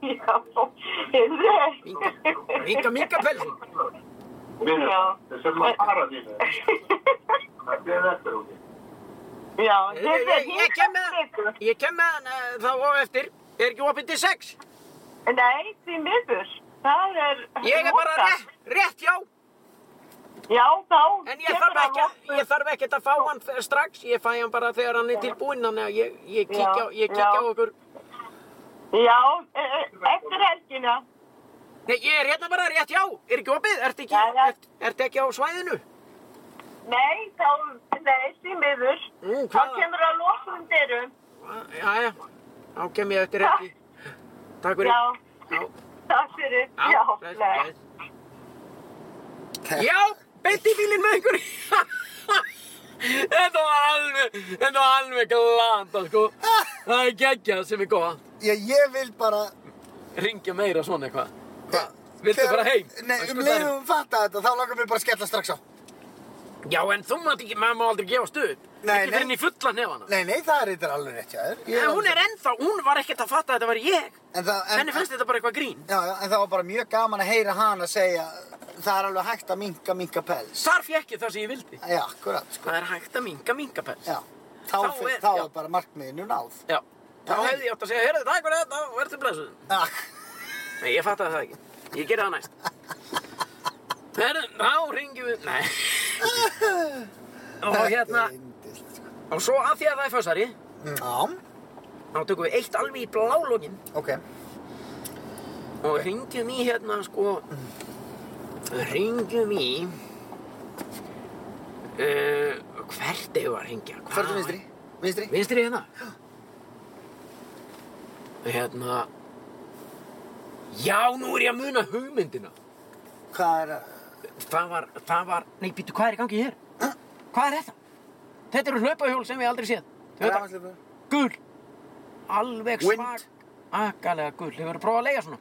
D: Já, heyrðu.
A: Minga, minga, minga pelsin.
D: Já.
E: Þetta er maður paradís. Þetta er þetta, ok.
D: Já,
A: Ég, ég, ég kem með hann, ég kem með hann eh, þá og eftir. Er ekki opið til sex?
D: Nei, því miður. Það er...
A: Ég er bara
D: Móta.
A: rétt, rétt já.
D: Já, þá...
A: En ég
D: kemur
A: þarf
D: hann
A: ekki,
D: okkur.
A: að- ég þarf ekki að fá hann f- strax. Ég fæ hann bara þegar hann er tilbúinn. Þannig að ég, ég kíkja, ég kíkja á
D: Já.
A: okkur.
D: Já, e- e- eftir helgina.
A: Nei, ég er hérna bara rétt já. Er ekki opið? Ertu ekki,
D: Já, já.
A: ert, ertu ekki á svæðinu?
D: Nei, þá... Nei, því miður.
A: Mm,
D: Þá
A: hvað?
D: kemur að lókum dyrum.
A: Jæja, Ah, þá kem ég eftir ekki. Takk fyrir.
D: Já,
A: Já,
D: takk fyrir.
A: já,
D: Já,
A: bless,
D: bless.
A: bless. Já, beint í bílinn með einhverju. þetta var alveg, þetta var alveg glanda, sko. Það er geggjað sem er gott.
B: Já, ég vil bara...
A: Ringja meira svona eitthvað. Hvað? Viltu fara heim? Það
B: Nei,
A: er
B: um
A: sko
B: leiðum við fatta þetta, þá langar mér bara að skella strax á.
A: það- Já, en þú mátt ekki, maður má aldrei gefast upp. ekki
B: Nei, nei.
A: fyrir henni fulla nefana.
B: Nei, nei, það er eitthvað alveg rétt, já.
A: En Eh, hún er ennþá, hún var ekkert að fatta að þetta var ég.
B: En það, en,
A: Henni fannst þetta bara eitthvað grín.
B: Já, já, en það var bara mjög gaman að heyra hana segja það er alveg hægt að minka, minka pels.
A: Þar fekk ég það sem ég vildi.
B: Já, akkurat, sko.
A: Það er hægt að minga mingapels.
B: Já, þá,
A: Þá
B: þá,
A: er-
B: er, þá
A: já.
B: er bara markmiðinu náð.
A: Já. Þá
B: Já.
A: hefði ég átt að segja, heyrðu, takk fyrir þetta og verður blessuð.
B: Já,
A: Nei, ég fattaði það ekki. Ég gerði það næst. Heyrðu, þá ringjum við... Nei. og
B: þetta er
A: hérna,
B: yndislegt, sko.
A: og svo að því að það er fössari,
B: Já,
A: þá tökum við eitt alveg í blálogin
B: ok.
A: og ringjum í hérna, sko... Ringjum í... Uh, hvert eigum við að ringja? Hvað-
B: Farðu vinstri, vinstri.
A: Vinstri hérna? Hérna... Já, nú er ég að muna hugmyndina.
B: Hvað er að...
A: Það var, það var, nei, býttu, hvað er í gangi hér? Hvað er þetta? Þetta eru hlaupahjól sem við aldrei séð. Þau eru
B: Rafmagnshlaupa.
A: gul. Alveg
B: Wind.
A: svag. Akalega gul. Hefur þú prófað að leiga svona?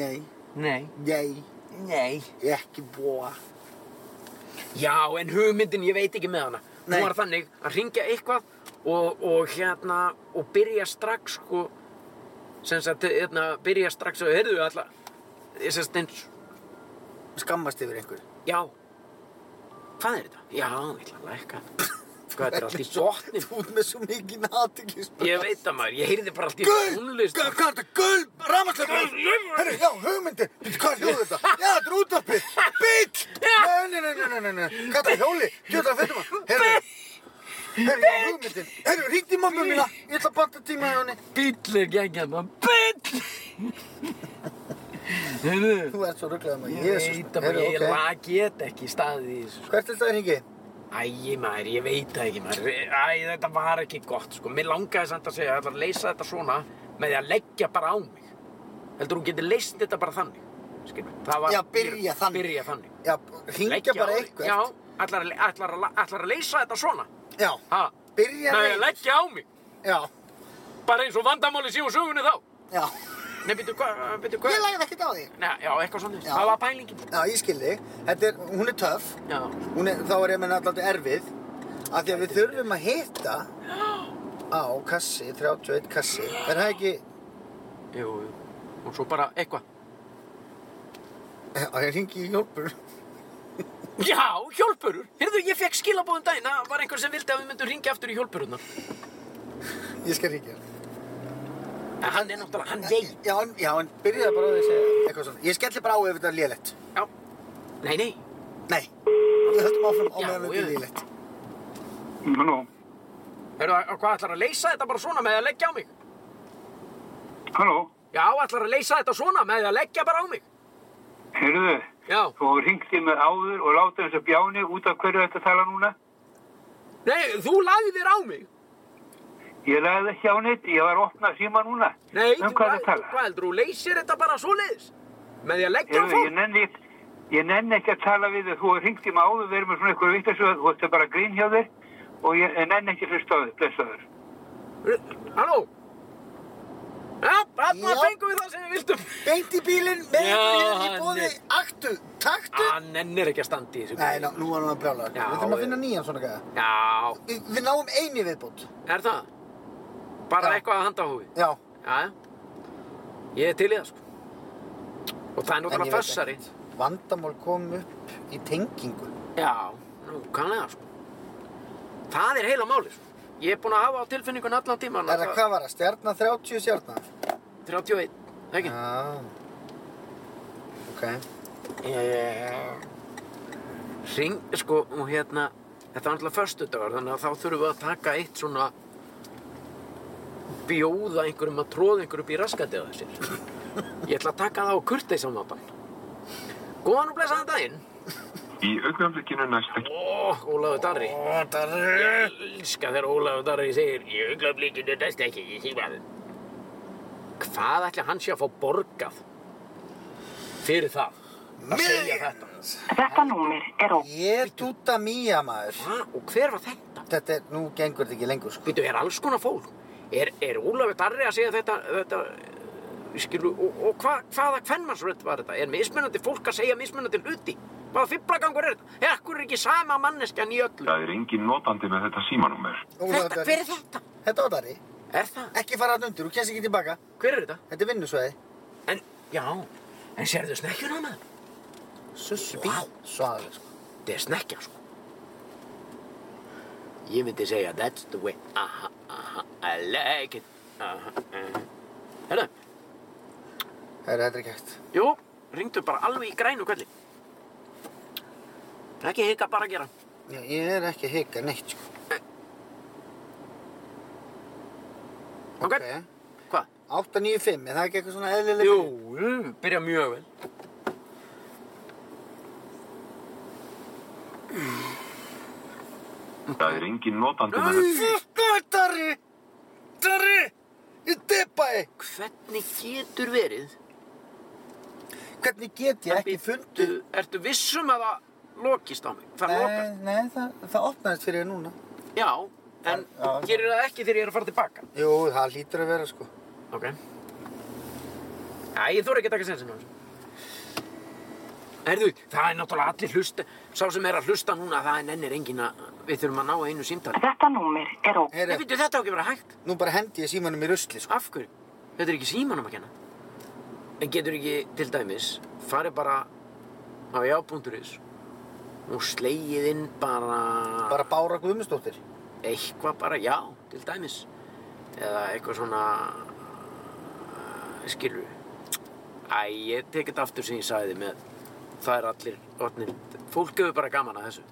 B: Nei,
A: Nei.
B: nei,
A: Nei.
B: ekki búa.
A: Já, en hugmyndin, ég veit ekki með hana.
B: Nei.
A: Hún var þannig að ringja eitthvað og, og hérna, og byrja strax, sko, sem sagt, hérna, byrja strax og heyrðu alltaf, sem sagt, eins,
B: Skammast yfir einhver.
A: já, hvað er þetta? Já, ég ætla að lækka. Hvað, þetta er allt í botnum.
B: Þú ert með svo mikið aðtækismenn.
A: Ég veit það maður, ég heyrði bara allt í
B: Gul!
A: tónlist.
B: Hvað hvað er þetta? Gul! Rafmagnshlaupa! Herri, já, hugmyndir! Býttu, hvað er hljóð þetta? Já, þetta er útvarpið! Bíll! Nei, nei, nei, nei, nei, nei, nei. Hvað er hjóli? Gjóta að fyrir maður. Herri, herri, já, hugmyndir. Herri, ringdi mamma mína. Ég ætla að banta tíma hjá henni.
A: Bíll er gengjað maður, bíll! Heyrðu,
B: Þú ert svo rugglega maður.
A: ég
B: Jésus,
A: veit að maður,
B: herri,
A: ég
B: ok.
A: lag get ekki staðið í þessu. sko.
B: Hvert er þetta hringi?
A: Æ maður, ég veit það ekki maður, æ þetta var ekki gott sko. Mér langaði samt að segja, ég ætla að leysa þetta svona með því að leggja bara á mig. Heldur hún getur leysn þetta bara þannig, skilur. Það var,
B: Já, byrja þannig.
A: Byrja þannig.
B: Já, hringja
A: Leggja á
B: bara
A: þig.
B: eitthvað.
A: Já, ætlar að, ætlar, að, ætlar að leysa þetta svona,
B: Já,
A: ha?
B: byrja
A: Nei, leggja á mig,
B: Já,
A: bara eins og vandamáli síg og sögunni þá.
B: já.
A: Nei, byrju, hvað, byrju, hvað?
B: Ég lagði ekkert á þig.
A: Nei, já, eitthvað svona,
B: Já.
A: það var pælingin.
B: Já, ég skil þig. Þetta er, hún er töff.
A: Já.
B: Hún er, þá er ég meina alltaf erfið. Af því að við þurfum að hitta á kassi, 31 kassi. Er það ekki,
A: Jú, jú. Og svo bara eitthvað.
B: að ég ringi í hjálpur.
A: Já, hjólpurur. Hérðu, ég fekk skilabóðum daginn að var einhver sem vildi að við myndum ringja aftur í hjólpururnar.
B: Ég skal ringja.
A: En hann er náttúrulega, hann veit.
B: Já, en- já, en byrjaði bara á því að segja eitthvað svona. Ég skelli bara á ef þetta er lélegt.
A: Já. Nei, nei.
B: Nei, við höldum áfram á
A: Já,
B: meðan þetta er
A: ég-
B: lélegt.
E: Nú,
A: Hérðu, hvað ætlar að leysa þetta bara svona með því að leggja á mig?
E: halló,
A: Já, ætlar að leysa þetta svona með því að leggja bara á mig?
E: heyrðu,
A: Já.
E: þú ringdi mér áður og láta þessu bjáni út af hverju þetta tala núna.
A: Nei, þú lagði þér á mig.
E: Ég lagði ekki á neitt, ég var að opna síma núna.
A: Nei,
E: um
A: þú
E: hvað
A: lagði-
E: það tala?
A: Hvað heldur, þú leysir þetta bara svoleiðis? Með því að leggja á
E: Heyrðu, ég
A: fólk?
E: nenni, ég nenni ekki að tala við þig, þú ringdi mér áður, við erum með svona ykkur vittasöð, þú ætti bara að grín hjá þér og ég ég nenni ekki að hlusta á þig, blessaður.
A: Halló? Já, þarna
B: Já.
A: fengum við það sem við vildum.
B: Beint í bílinn, með
A: Já,
B: ykkur í
A: hann
B: bóði,
A: er-
B: aktu, taktu.
A: Hann nennir ekki að standa í þessu.
B: Nei, ná, nú var hann að brjála. Við
A: Já,
B: þurfum að
A: ég-
B: finna nýjan svona gæða.
A: Já,
B: Við, við náum eini viðbót.
A: Er það? Bara
B: Já.
A: eitthvað að handa á hófi?
B: Já.
A: Já, ég er til í það sko. Og það er
B: ég
A: náttúrulega
B: veit
A: þessari.
B: ekkert. Vandamál kom upp í tengingu.
A: Já, nú kannlega sko. Það er heila máli sko. Ég er búinn að hafa á tilfinningun allan tíman.
B: Er það hvað var það? Stjarnar 30 stjarnar?
A: 31, ekki?
B: Já. Ok.
A: Ég... Ring, sko, og hérna, þetta var náttúrulega föstudagur, þannig að þá þurfum við að taka eitt svona bjóða einhverjum að tróða einhverjum upp í raskatið á þessir. Ég ætla að taka það á kurteisamáttan. Góðan og blessaðan daginn.
E: Í augnaflikinu næst ekki.
A: Ó, Ólafur Darri.
B: Ó, það er...
A: Ég elska þegar Ólafur Darri segir í augnablikinu næst ekki, ég sé maður. Hvað ætla hann sé að fá borgað fyrir það? Að segja þetta.
D: Þetta númer er ótt.
B: Ég er dúta mía maður.
A: Hva? Og hver var þetta?
B: Þetta er, nú gengur þetta ekki lengur sko.
A: Býtu, er alls konar fólk? Er, er Ólafur Darri að segja þetta, þetta eh, skilu, og, og hva, hvaða kvennmannsrödd var þetta? Er mismunandi fólk að segja mismunandi hluti? Hvaða fiblagangur er þetta? Er akkur er ekki sama manneskjan í öllu?
E: Það er engin notandi með þetta símanúmer.
B: Ólafur
A: Þetta,
B: Darri.
A: hver er þetta?
B: Þetta var Dari.
A: Er það?
B: Ekki fara hann undir, þú kennst ekki tilbaka.
A: Hver er þetta?
B: Þetta er vinnusvæði.
A: En, já, en sérðu snekkjuna maður?
B: Sussu
A: bíll.
B: Svaðalega sko.
A: Þetta er snekkja, sko. Ég myndi segja, that's the way, aha, aha, I like it, aha, aha. Hérna,
B: Herra, þetta er ekki hægt.
A: Jú, ringdu bara alveg í grænu kvelli. Ekki hika bara að gera.
B: Já, Ég er ekki að hika neitt sko.
A: Ok. Hvað?
B: 895, er það ekki eitthvað svona eðlilega?
A: Jú, jú, byrja mjög vel.
E: Það er engin notandi með þetta.
B: Nei, Sko, Darri! Darri! Ég dippa þig!
A: Hvernig getur verið
B: Hvernig get ég ekki
A: Þú,
B: fundið?
A: ertu vissum að það lokist á mig? Það
B: Nei,
A: lokast?
B: nei, það, það opnaðist fyrir þér núna.
A: Já, en
B: Já, já.
A: þú gerir það ekki þegar ég er að fara tilbaka.
B: Jú, það hlýtur að vera sko.
A: Ok. Æ, ég þóra ekki að taka sensin á þessu. Erðu, það er náttúrulega allir hlusta, sá sem er að hlusta núna, það er nennir engin að, við þurfum að ná einu símtali.
D: Þetta númer er ó...
A: Nei,
B: Heyri,
A: veitu, þetta á ekki að vera hægt.
B: nú bara hendi ég símanum í rusli sko.
A: Af hverju? Þetta er ekki símanum að kenna. En getur ekki, til dæmis, farið bara á já.is og slegið inn bara...
B: Bara Bára Guðmundsdóttir.
A: eitthvað bara já, til dæmis eða eitthvað svona skilur Æ, ég tek þetta aftur sem ég sagði með það er allir orðnir fólk hefur bara gaman að þessu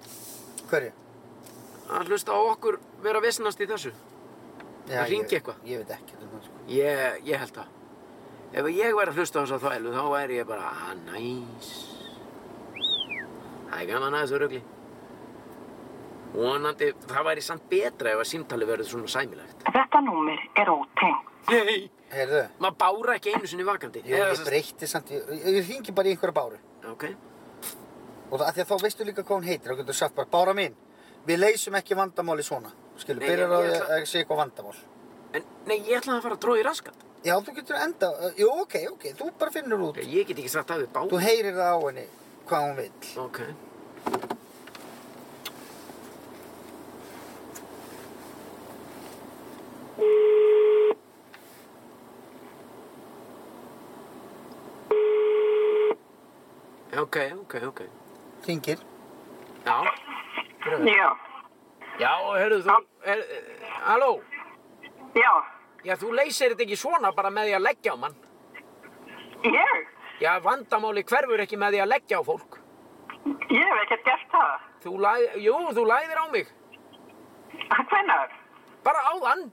B: Hverju?
A: að hlusta á okkur vera vesnast í þessu
B: Já,
A: Það hringi
B: ég-
A: eitthvað.
B: Ég veit ekki um það sko.
A: ég, ég held það ef ég væri að hlusta á þessa þvælu þá væri ég bara ah, næs það er gaman að þessu rugli vonandi, það væri samt betra ef að símtali verður svona sæmilegt
D: Þetta númer er ótengt.
A: nei
B: Heyrðu,
A: maður bára ekki einu sinni vakandi
B: jú,
A: Eða
B: ég
A: sem-
B: breytti samt. Ég, ég ringi bara í einhverja Báru.
A: ok,
B: Og það, af því að þá veistu líka hvað hún heitir. Þá getur þú sagt bara, Bára mín, við leysum ekki vandamáli svona. Skilu,
A: Nei,
B: byrjar á
A: ég-
B: því
A: ég
B: að
A: ætla-
B: að segja eitthvað vandamál.
A: en nei, ég ætlaði að fara að tróði raskat
B: Já, þú getur enda, jú, ok, ok, þú bara finnur út.
A: ég get ekki sagt að við bá
B: Þú heyrir það á henni hvað hún vill.
A: ok ok, ok, ok
B: Hringir.
A: já,
D: Já,
A: já, heyrðu þú er, halló,
D: já,
A: já, þú leysir þetta ekki svona bara með því að leggja á mann
D: ég,
A: já, vandamáli hverfur ekki með því að leggja á fólk
D: ég hef ekkert gert það.
A: Þú læð, jú, þú læðir á mig.
D: Hvenar?
A: Bara áðan.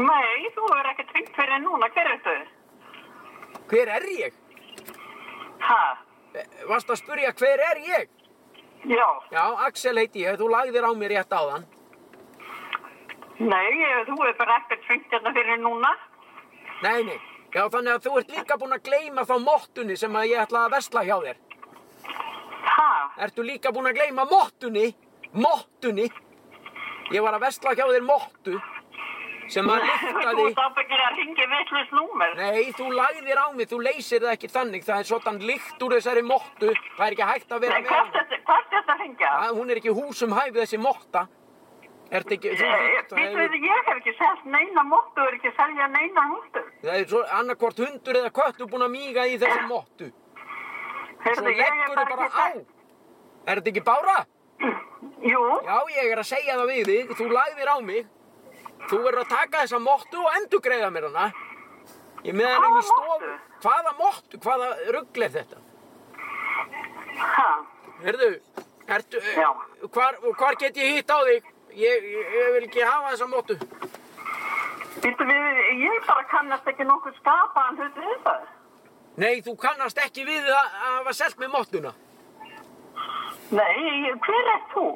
D: Nei, þú er ekkert hringt fyrir en núna, hver er þau?
A: Hver er ég?
D: Ha,
A: Eh, Varstu að spurja hver er ég?
D: já,
A: Já, Axel heiti ég, þú læðir á mig rétt áðan.
D: nei, ég- þú er bara ekkert hringt hérna fyrir en núna.
A: Nei, nei. Já, þannig að þú ert líka búin að gleyma þá mottunni sem að ég ætla að vesla hjá þér.
D: Ha,
A: Ertu líka búin að gleyma mottunni? Mottunni? Ég var að vesla hjá þér mottu sem að
D: þú
A: lyktaði...
D: ert ábyggir að hringi vittlust númer.
A: Nei, þú læðir á mig, þú leysir það ekki þannig. Það er svotan lykt úr þessari mottu. Það er ekki hægt að vera
D: Nei, hvort
A: hana.
D: ertu- hvort er þetta að hringja?
A: að hún er ekki húsum hæfið þessi motta Ertu ekki, þú veist, það
D: Býtuðu,
A: hefur,
D: ég hef ekki selgt neina móttu og er ekki að selja neina móttu.
A: það er svo annarkvort hundur eða köttu búin að míga í þessu mottu. Svo
D: Heyrðu, ég er
A: leggur þau bara
D: ekki
A: á.
D: að-
A: Er þetta ekki bára?
D: Jú,
A: Já, ég er að segja það við þig, þú lagðir á mig. Þú verður að taka þessa mottu og endurgreiða mér hana. Ég með hann inn í
D: Hvaða
A: stofu.
D: mottu?
A: Hvaða mottu? Hvaða rugl er þetta?
D: ha,
A: Herðu, ertu, eh,
D: Já.
A: hvar, og hvar get ég hitt á þig? Ég, ég, ég vil ekki hafa þessa mottu.
D: býtuðu, ég bara kannast ekki nokkuð skapaðan hlut við það.
A: Nei, þú kannast ekki við að að hafa selt með mottuna.
D: Nei, ég- hver ert þú?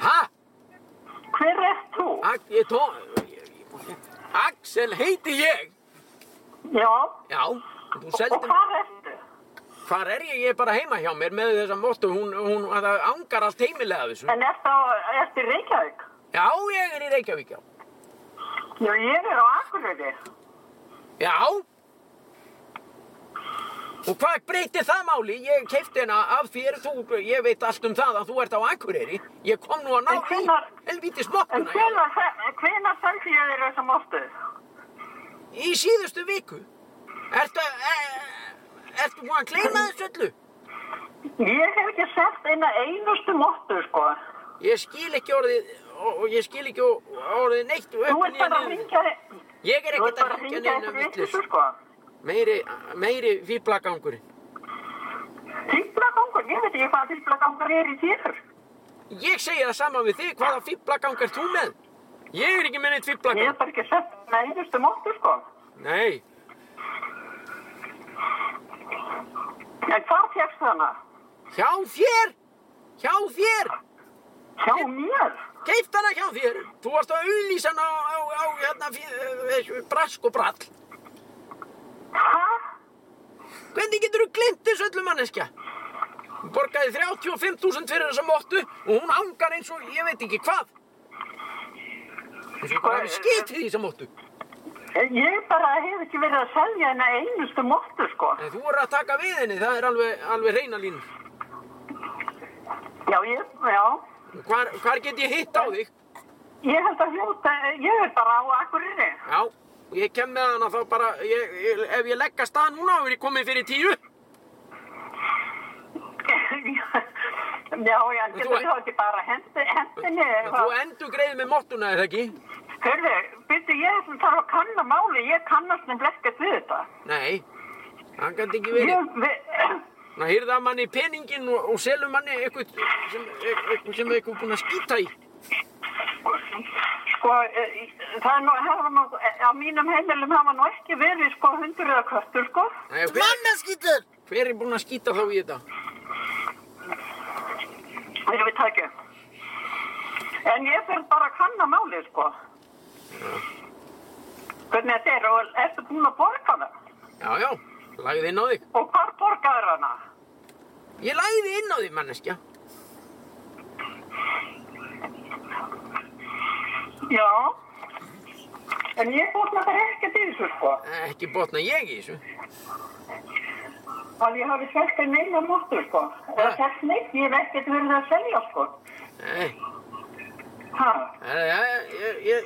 A: Hæ?
D: Hver ert þú?
A: Ak- Ég tó... ég- ég- Axel heiti ég.
D: Já,
A: Já, þú
D: og
A: seldi...
D: hvað ertu?
A: Hvar er ég? Ég er bara heima hjá mér með þessa móttu. Hún, hún, það angar allt heimilega af þessu.
D: En ertu, á- ertu í Reykjavík?
A: Já, ég er í Reykjavík, já.
D: Já, ég er á Akureyri.
A: Já. Og hvað breytir það máli? Ég keipti hérna af þér, þú, ég veit allt um það að þú ert á Akureyri. Ég kom nú að ná
D: En hvenær-
A: í helvítis
D: En
A: mottuna. já.
D: hvenar, hvenar seldi ég þér þessa móttu?
A: Í síðustu viku. Ertu, e, ertu búin að gleyma þessu öllu?
D: Ég hef ekki selgt eina einustu móttu, sko.
A: Ég skil ekki orðið og og ég skil ekki o- orðið neitt upp
D: Þú ert
A: né
D: bara að
A: niður.
D: hringja þér.
A: Ég er
D: Þú
A: ekkert
D: ert
A: að
D: bara að
A: hringja
D: hringja
A: neina
D: eitthvað
A: vittlis.
D: vitlissu sko.
A: Meiri, meiri fýblagangurinn.
D: Fýblagangur, ég veit ekki hvað fýblagangur er í þér.
A: Ég segi það sama við þig, hvaða fýblagang er þú með? Ég er ekki með neitt
D: Ég
A: fýblagang.
D: hef bara ekki sett með einustu móttu sko.
A: Nei,
D: En hvað fjækst hana?
A: hjá þér! Hjá þér!
D: Hjá mér?
A: Keift hana hjá þér! Þú varst að auðlýsa hana á, eh, á, á hérna, fí- eh, þessu brask og brall.
D: Hæ?
A: Hvernig getur þú glint þessu öllu manneskja? Hún borgaði 35.000 fyrir þessa móttu og hún angar eins og ég veit ekki hvað. Eins og hún bara hafi skitið í þessa móttu.
D: Ég bara hef ekki verið að selja hennar einustu móttu, sko.
A: Nei, þú voru að taka við henni, það er alveg, alveg reyna línur.
D: Já, ég, já.
A: Hvar, hvar get ég hitt á þig?
D: Ég held að hljóta, ég er bara á Akureyri.
A: Já, ég kem með hana þá bara, ég, ég, ef ég legg að stað núna og er ég komið fyrir tíu.
D: já, já, getur
A: þú-
D: þú ekki bara hendi, hendinni
A: En Þú endur greið með móttuna, er það ekki?
D: Hörðu, byrju, ég ætlum þarf að kanna máli, ég kannast nefnilega ekkert við þetta.
A: Nei, það gæti ekki verið.
D: Ég, við,
A: Það hýrða manni peningin og, og selur manni eitthvað sem, eitthvað sem eitthvað búin að skýta í.
D: sko, eh, það er nú, hafa nú, eh, á mínum heimilum hafa nú ekki verið, sko, hundur eða köttur, sko.
A: Nei, hver,
B: Manneskýtur!
A: hver er búin að skýta þá í þetta?
D: Erum við takja. En ég fyrir bara að kanna máli, sko. Hvernig þetta er og ertu búin að borga það?
A: Já, já, lagði inn á þig.
D: Og hvar borgaður hana?
A: Ég lagði inn á þig, manneskja.
D: Já. En ég búin að bara ekkert í þessu, sko.
A: Eh, Ekki botna ég í þessu.
D: að ég hafi selt en neina móttur sko eða
A: Ha.
D: selt neitt, ég hef ekkert verið að selja sko
A: Nei,
D: ha.
A: eh, eh, ég, ég,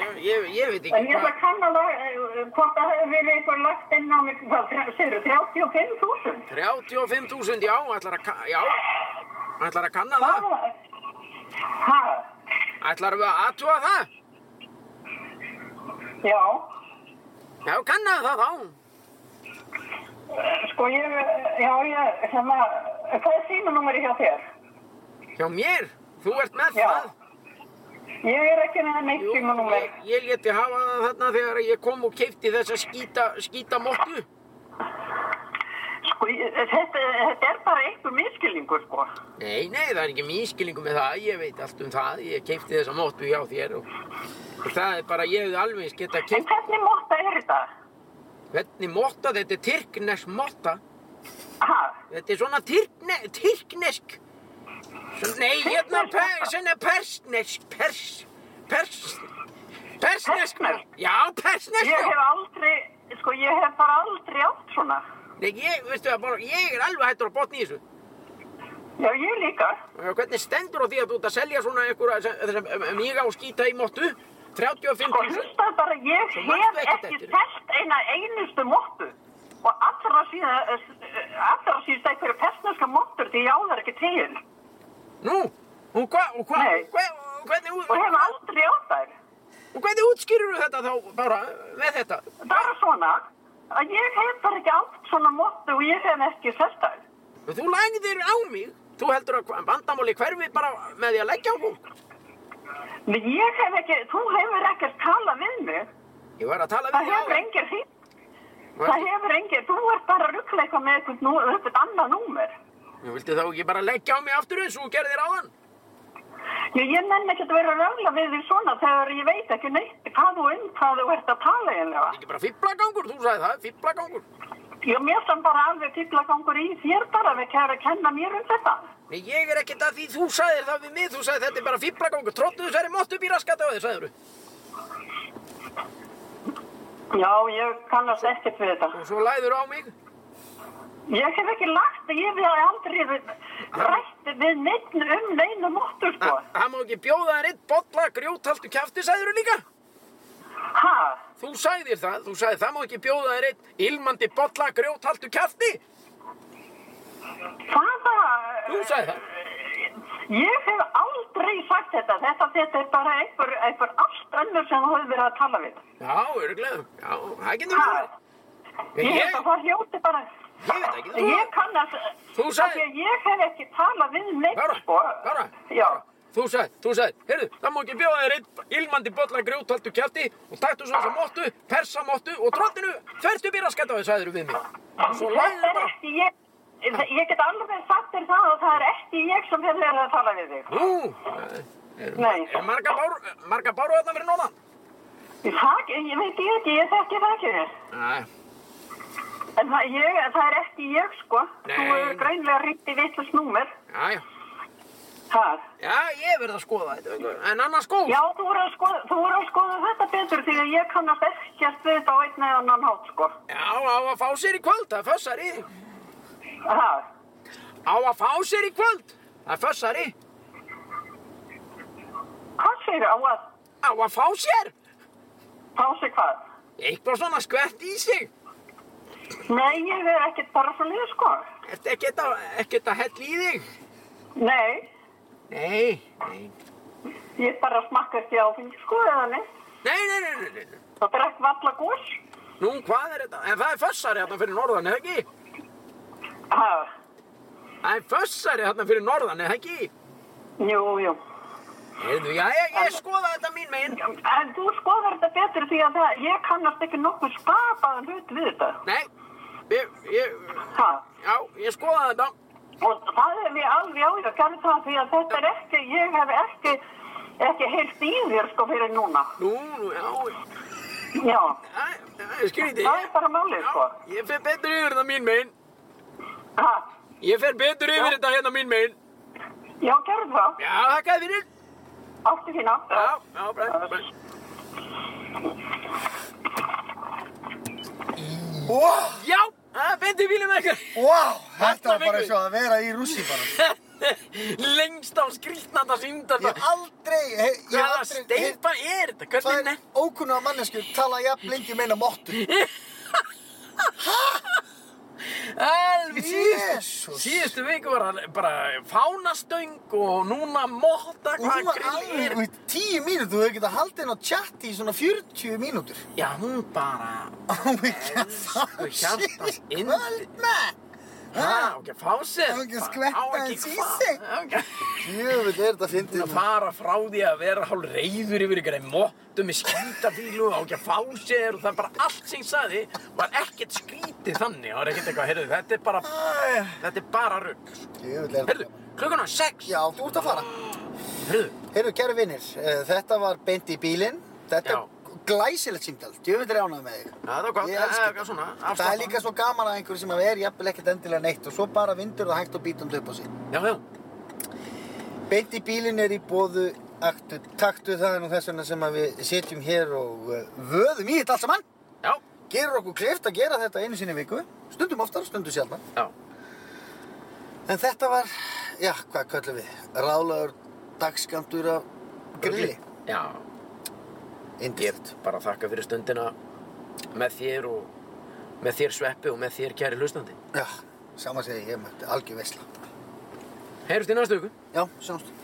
A: ég, ég, ég veit
D: en
A: ekki
D: ég ætla
A: hvað.
D: að kanna lag- eh, hvort það hefur verið eitthvað lagt inn á mig hvað segir 35.000
A: 35.000, já, ætlar að, ka- já, ætlar að kanna
D: Ha?
A: það.
D: ha,
A: Ætlar að aðtúa það?
D: já
A: Já, kannaðu það þá.
D: Eh, sko ég, já ég sem að, hvað er símanúmeri hjá þér?
A: Hjá mér, þú ert með
D: Já.
A: það.
D: ég er ekki með neitt
A: Jú,
D: símanúmer
A: ég, ég leti hafa það þarna þegar ég kom og keipti þessa skýta, skýta móttu.
D: sko ég, þetta, þetta er bara einhver miskilningur sko
A: Nei, nei, það er ekki mískilningu með það, ég veit allt um það, ég keipti þessa móttu hjá þér og, og það er bara, ég hefði alveg eins getað
D: en
A: keipt,
D: hvernig mótta er þetta?
A: hvernig mótta þetta er tyrknesk mótta,
D: ha,
A: þetta er svona tyrkne, tyrknesk, Svo- nei, hérna,
D: Tyrknesk
A: per,
D: motta?
A: svona persnesk, pers, pers, persnesk,
D: Persnesk?
A: já, persnesk,
D: ég hef aldrei sko ég hef bara aldrei átt svona
A: nei, ég, veistu það, bara- ég er alveg hættur að botna í þessu.
D: Já, ég líka.
A: Já, Hvernig stendur á því að þú ert að selja svona einhverja sem, sem, sem ég á skýta í móttu?
D: Sko,
A: 35.000?
D: hlustaðu bara, ég
A: Svo manstu
D: hef
A: ekkert
D: ekki
A: eftir því.
D: telt eina einustu móttu. Og allra síðan, allra síðan einhverju pestneska móttur því ég á þær ekki til.
A: Nú, og hvað, og hvað,
D: Nei.
A: hva, og hvernig,
D: Og hérna. hef
A: og,
D: aldrei á þær.
A: og hvernig útskýrur þetta þá bara með þetta?
D: Bara svona, að ég hef bara ekki átt svona móttu og ég hef ekki telt þær.
A: Þú lægðir á mig, þú heldur að hva- vandamáli hverfi bara með því að leggja á fólk.
D: Men ég hef ekki, þú hefur ekkert talað við mig.
A: Ég var að tala
D: Það
A: við
D: hefur
A: þig
D: engir hýtt.
A: á
D: Það hefur engir, þú ert bara að ruggla eitthvað með eitthvað, nú, eitthvað annað númer.
A: Þú vildi þá ekki bara leggja á mig aftur eins og þú gerðir áðan?
D: Já, ég nenni ekkert að vera að röfla við því svona þegar ég veit ekki neitt hvað þú um hvað þú ert að tala
A: Það er
D: eiginlega.
A: ekki bara fýblagangur, þú sagði það, fýblagangur.
D: Já, mér sem bara alveg fýllagangur í þér bara við kæra að kenna mér um þetta.
A: Nei, ég er ekkert að því þú sagðir það við mig, þú sagði þetta er bara fýblagangur, tróttu þessari móttu upp í raskata á þér, sagður
D: Já, ég kannast ekkert við þetta.
A: Og svo læður á mig.
D: Ég hef ekki lagt, ég hef aldrei rætt við neitt um neina móttu, sko.
A: Það það má ekki bjóða þér einn bolla grjóthaltu kjafti, sagður líka.
D: Ha,
A: Þú sagðir það, þú sagðir það má ekki bjóða þér einn ilmandi bolla grjóthaltu kjafti.
D: hvaða...
A: Þú sagði það.
D: Ég hef aldrei sagt þetta. Þetta, þetta er bara einhver, einhver allt önnur sem þú hefur verið að tala við.
A: Já, öruglega. Já, það getur
D: Ha,
A: verið.
D: Ah, ég held
A: Ég,
D: að það hljóti bara...
A: ég veit ekki, þú,
D: Ég kannast,
A: Þú sagði-
D: af því að ég hef ekki talað við neitt,
A: Kára,
D: sko.
A: Kára.
D: Já,
A: þú sagði, þú sagði, heyrðu, það má ekki bjóða þér einn ilmandi bolla grjóthaltu kjafti og taktu svo þessa móttu, persa móttu og tróttinu, þverst upp í raskata á þér, sagður við mig. Og svo læður
D: þetta er
A: bara.
D: ekki ég, ég get alveg sagt þér það og það er ekki ég sem hef verið að tala við þig.
A: Nú, eh, eru-
D: Nei.
A: eru margar bár- margar báru þarna fyrir norðan?
D: Það, ég veit ég ekki, ég þekki það ekki.
A: Nei,
D: En það, ég, það er ekki ég sko. Þú
A: Nei.
D: er greinlega ríkt í vittlust númer.
A: Já, já.
D: Það.
A: Já, ég verð að skoða þetta. einhver- En annars góð.
D: Já, þú voru, að skoða, þú voru að skoða þetta betur því að ég kannast ekkert við þetta á einn eða annan hátt sko.
A: Já, á að fá sér í kvöld, það er fössari.
D: Það.
A: Á að fá sér í kvöld, það er fössari.
D: Hvað segir á að
A: Á að fá sér.
D: fá sig hvað?
A: Eitthvað svona skvett í sig.
D: Nei, ég er ekkert bara frá liðu sko.
A: Ertu ekkert að, ekkert að hella í þig?
D: Nei,
A: Nei, nei.
D: ég bara smakka ekki áfengi sko eða neitt.
A: Nei, nei, nei, nei, nei. nei.
D: Það er ekki valla gós.
A: Nú, hvað er þetta? En það er fössari hérna fyrir norðan, eða ekki?
D: Það.
A: Það er fössari hérna fyrir norðan, eða ekki?
D: Jú, jú.
A: Heyrðu, já, já, ég skoða þetta mín megin.
D: En þú skoðar þetta betur því að það, ég kannast ekki nokkuð skapaðan hlut við þetta.
A: Nei, ég, ég,
D: Ha.
A: já, ég skoða þetta.
D: Og það er mér alveg áður að gera það því að þetta er ekki, ég hef ekki, ekki heyrt í þér sko fyrir núna.
A: Nú, nú, já,
D: Já,
A: Það það er skrítið.
D: það er bara málið sko.
A: Já, Ég fer betur yfir þetta mín megin.
D: Ha.
A: Ég fer betur yfir þetta hérna mín megin.
D: Já, gerðu það.
A: Já, þakkaði fyrir.
D: Áttu fína.
A: Já, já, bræð, bræð. Já, það er betur bílum eitthvað.
B: Wow, þetta var
A: Alltaf
B: bara
A: ykkur.
B: svo að vera í rússi bara.
A: Lengst á skrítnanda síndar.
B: Ég hef aldrei, he, ég hef
A: Hvaða
B: aldrei, he,
A: steipa er þetta? Hvernig
B: það er
A: nefn?
B: ókunnuga manneskur tala jafn lengi um meina móttu.
A: Alveg síðustu,
B: Jesús.
A: síðustu viku var hann bara fánastöng og núna motta
B: Og hún
A: hvað
B: var
A: grill er.
B: alveg, í tíu mínútur, þú hefur getað haldið henn á chatti í svona 40 mínútur.
A: Já, hún bara,
B: Oh my god, það
A: Elsku hjartans yndi.
B: kvöld með.
A: það á ekki að fá sér.
B: Á ekki að
A: bara,
B: skvetta
A: á ekki
B: aðeins í
A: hvað,
B: sig.
A: á ekki-
B: Jöfnveld er þetta
A: Hún að
B: fyndið.
A: fara frá því að vera hálf reyður yfir ykkur einn móttu með skítafílu og á ekki að fá sér og það er bara allt sem ég sagði var ekkert skrítið þannig. Það var ekkert eitthvað, heyrðu, þetta er bara,
B: Æ,
A: þetta er bara rugg.
B: Jöfnveld er
A: Heyrðu,
B: þetta.
A: klukkan á sex.
B: Já, þú ert að fara.
A: Heyrðu,
B: Heyrðu, kæru vinnir, þetta var beint í bílinn. Þetta
A: Já.
B: er glæsilegt síndal. Djöfnveld er ánægð með þig.
A: Já, það var gott,
B: Ég
A: það
B: elska
A: er
B: þetta.
A: eitthvað svona,
B: Það er
A: afslappað.
B: líka svo gaman að einhverju sem er jafnvel ekkert endilega neitt og svo bara vindur það hægt og býtum upp á sig.
A: Já, já.
B: Beint í bílinn er í bóðu aktu, taktu það er nú þess vegna sem að við sitjum hér og uh, vöðum í þetta allt saman.
A: Já,
B: Gerur okkur kleift að gera þetta einu sinni í viku. Stundum oftar, stundum sjálfna.
A: já.
B: En þetta var, já, hvað köllum við? Rálaður dagskamtur af grilli.
A: Já,
B: Indírt.
A: bara þakka fyrir stundina með þér og með þér sveppi og með þér kæri hlustandi.
B: Já, sama segi ég, ég mætti algjör veisla.
A: Heyrjumst í næstu viku.
B: Já, sjáumst.